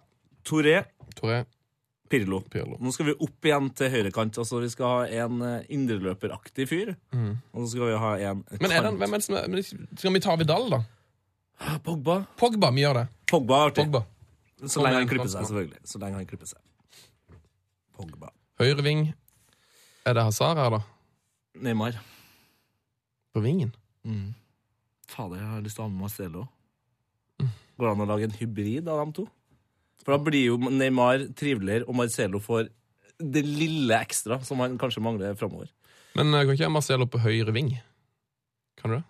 Speaker 4: Touré.
Speaker 3: Touré
Speaker 4: Pirlo.
Speaker 3: Pirlo.
Speaker 4: Nå skal vi opp igjen til høyrekant. Altså, vi skal ha en eh, indreløperaktig fyr. Og så skal vi ha en
Speaker 3: Mm. Men er det, hvem er det som er men Skal vi ta Vidal, da?
Speaker 4: Ah, Pogba.
Speaker 3: Pogba, vi gjør det.
Speaker 4: Pogba er artig.
Speaker 3: Pogba.
Speaker 4: Så
Speaker 3: Kom
Speaker 4: lenge han
Speaker 3: igjen,
Speaker 4: klipper seg,
Speaker 3: Franskmann.
Speaker 4: selvfølgelig. Så lenge han klipper seg. Pogba.
Speaker 3: Høyre ving. Er det Hazard her, da?
Speaker 4: Neymar.
Speaker 3: På vingen?
Speaker 4: Fader, jeg har lyst til å ha med Marcelo. Går det an å lage en hybrid av dem to? For da blir jo Neymar triveligere, og Marcelo får det lille ekstra som han kanskje mangler framover.
Speaker 3: Men eh, kan ikke Marcelo på høyre ving? Kan du det?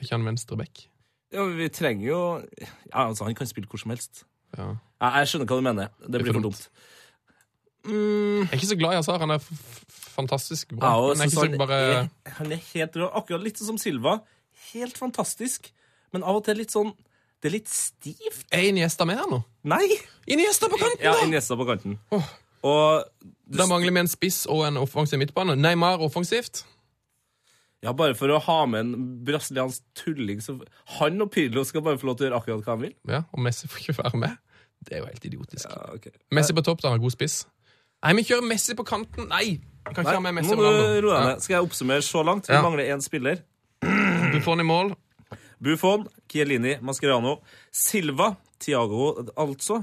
Speaker 3: Er ikke han venstre back?
Speaker 4: Ja, men vi trenger jo Ja, altså, han kan spille hvor som helst.
Speaker 3: Ja.
Speaker 4: Jeg, jeg skjønner hva du mener. Det blir for dumt.
Speaker 3: Jeg er ikke så glad i Hazar. Han er f f- fantastisk bra.
Speaker 4: Mm. Ja, og
Speaker 3: men jeg er ikke
Speaker 4: Susanne
Speaker 3: så bare
Speaker 4: er, han er helt rå. Akkurat litt som Silva. Helt fantastisk. Men av og til litt sånn Det er litt stivt.
Speaker 3: Er Iniesta med her nå?
Speaker 4: Nei!
Speaker 3: Iniesta på kanten,
Speaker 4: Ja,
Speaker 3: da!
Speaker 4: Iniesta på kanten. Og
Speaker 3: Da mangler vi en spiss og en offensiv midtbane. Neymar offensivt.
Speaker 4: ja, bare for å ha med en brasiliansk tulling så Han og Pirlo skal bare få lov til å gjøre akkurat hva han vil?
Speaker 3: Ja, og Messi får ikke være med. Det er jo helt idiotisk.
Speaker 4: Ja, ok.
Speaker 3: Messi på topp, da. Han har god spiss. Nei, vi kjører Messi på kanten. Nei! Vi kan ikke ha med
Speaker 4: Nei,
Speaker 3: Messi
Speaker 4: må
Speaker 3: og
Speaker 4: du
Speaker 3: Ronaldo.
Speaker 4: roe deg ned. Skal jeg oppsummere så langt? Vi
Speaker 3: Ja.
Speaker 4: mangler én spiller.
Speaker 3: Ja. Buffon i mål.
Speaker 4: Buffon, Chiellini, Mascherano, Silva, Thiago altså,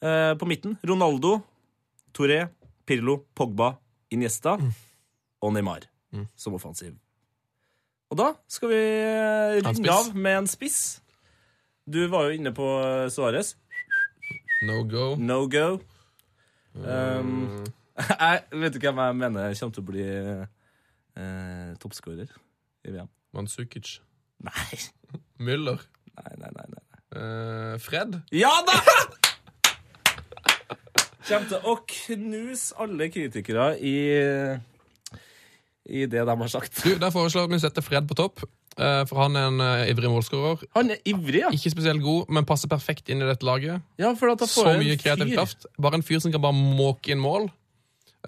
Speaker 4: eh, på midten. Ronaldo, Touré, Pirlo, Pogba, Iniesta
Speaker 3: Mm.
Speaker 4: og Neymar som offensiv. Og da skal vi eh,
Speaker 3: En
Speaker 4: runde
Speaker 3: spiss.
Speaker 4: av med en spiss. Du var jo inne på Suárez.
Speaker 3: No go.
Speaker 4: No go. Um, [laughs] jeg vet du hvem jeg mener kommer til å bli eh, toppskårer i VM?
Speaker 3: Mansukic.
Speaker 4: Nei.
Speaker 3: Müller.
Speaker 4: Nei, nei, nei, nei.
Speaker 3: Eh, Fred.
Speaker 4: Ja da! Kjem til å knuse alle kritikere i, i det de har sagt.
Speaker 3: Du, Der foreslår vi å sette Fred på topp, eh, for han er en eh, ivrig målskårer.
Speaker 4: Han er ivrig, ja.
Speaker 3: Ikke spesielt god, men passer perfekt inn i dette laget.
Speaker 4: ja for at da
Speaker 3: Så
Speaker 4: får jeg en
Speaker 3: mye kreativ
Speaker 4: fyr.
Speaker 3: kraft. Bare en fyr som kan bare måke inn mål.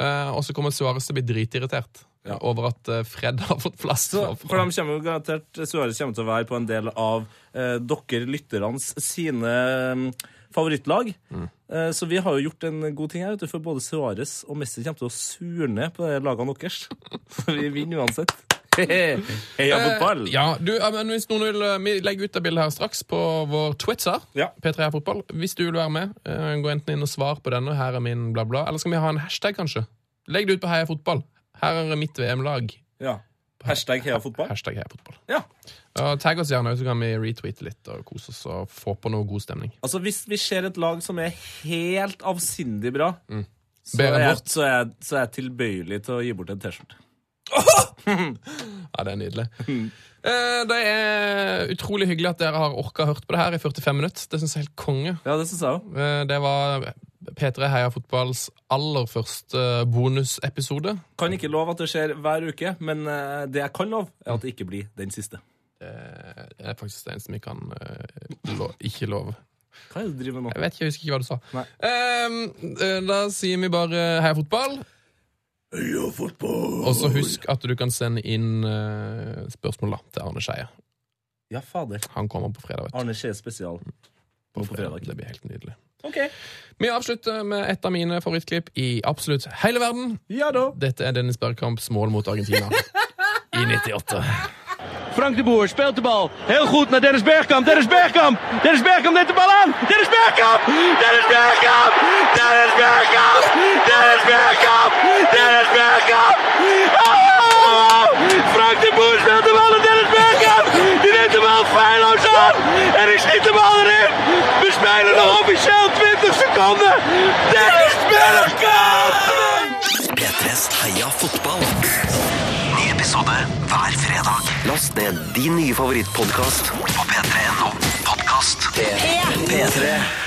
Speaker 3: Eh, og så kommer Suárez til å bli dritirritert
Speaker 4: Ja.
Speaker 3: over at eh, Fred har fått plass.
Speaker 4: Så,
Speaker 3: for-
Speaker 4: for de kommer jo garantert Suarez kommer til å være på en del av eh, dere lytternes sine mm, favorittlag.
Speaker 3: Mm.
Speaker 4: Eh, så vi har jo gjort en god ting her, vet du, for både Suarez og Messi kommer til å surne på de lagene
Speaker 3: [laughs]
Speaker 4: deres. Så vi vinner uansett. Heia fotball!
Speaker 3: Eh, Ja, du, ja, men hvis noen vil eh, Vi legger ut det bildet her straks på vår Twitter.
Speaker 4: Ja.
Speaker 3: P3 er fotball. Hvis du vil være med, eh, gå enten inn og svar på denne. Her er min bla, bla. Eller skal vi ha en hashtag, kanskje? Legg det ut på Heia fotball. Her er mitt VM-lag.
Speaker 4: ja. Hashtag heia fotball.
Speaker 3: Hashtag Heia fotball.
Speaker 4: Ja.
Speaker 3: Ja, tagg oss gjerne, så kan vi retweete litt og kose oss og få på noe god stemning.
Speaker 4: Altså, hvis vi ser et lag som er helt avsindig bra, så,
Speaker 3: Ber
Speaker 4: er
Speaker 3: dem
Speaker 4: jeg,
Speaker 3: bort.
Speaker 4: så, er jeg, så er jeg tilbøyelig til å gi bort en T-skjorte.
Speaker 3: Ja, det er nydelig. Eh, Det er utrolig hyggelig at dere har orka hørt på det her i 45 minutter. Det syns jeg er helt konge.
Speaker 4: Ja, det syns jeg òg.
Speaker 3: Eh, Det var P3 Heia Fotballs aller første eh, bonusepisode.
Speaker 4: Kan ikke love at det skjer hver uke, men eh, det jeg kan love, er at det ikke blir den siste.
Speaker 3: Eh, Det er faktisk det eneste vi kan eh, lo ikke love.
Speaker 4: Hva er det du driver med
Speaker 3: Jeg
Speaker 4: nå?
Speaker 3: vet ikke, jeg husker ikke hva du sa.
Speaker 4: Nei.
Speaker 3: Eh, eh, Da sier vi bare heia fotball.
Speaker 4: Heia fotball!
Speaker 3: Og så husk at du kan sende inn eh, spørsmål da, til Arne Skeie.
Speaker 4: Ja, fader.
Speaker 3: Han kommer på fredag. Vet du.
Speaker 4: Arne Skje spesial.
Speaker 3: På
Speaker 4: på
Speaker 3: fredag.
Speaker 4: fredag.
Speaker 3: Det blir helt nydelig.
Speaker 4: OK.
Speaker 3: Vi avslutter med et av mine favorittklipp i absolutt hele verden.
Speaker 4: Ja da.
Speaker 3: Dette er Dennis Bergkamps mål mot Argentina i 98.
Speaker 1: Frank de Boer speelt de bal. Heel goed naar Dennis Bergkamp. Dennis Bergkamp. Dennis Bergkamp neemt de bal aan. Dennis Bergkamp. Dennis Bergkamp. Dennis Bergkamp. Dennis Bergkamp. Dennis Bergkamp. Oh! Frank de Boer speelt de bal aan Dennis Bergkamp. Die neemt de bal feilloos aan. En ik schiet de bal erin. We spelen nog officieel 20 seconden. Dennis Bergkamp.
Speaker 2: P3s Heia fotball. Ny episode hver fredag. Last ned din nye favorittpodkast på p3.no. Podkast P3.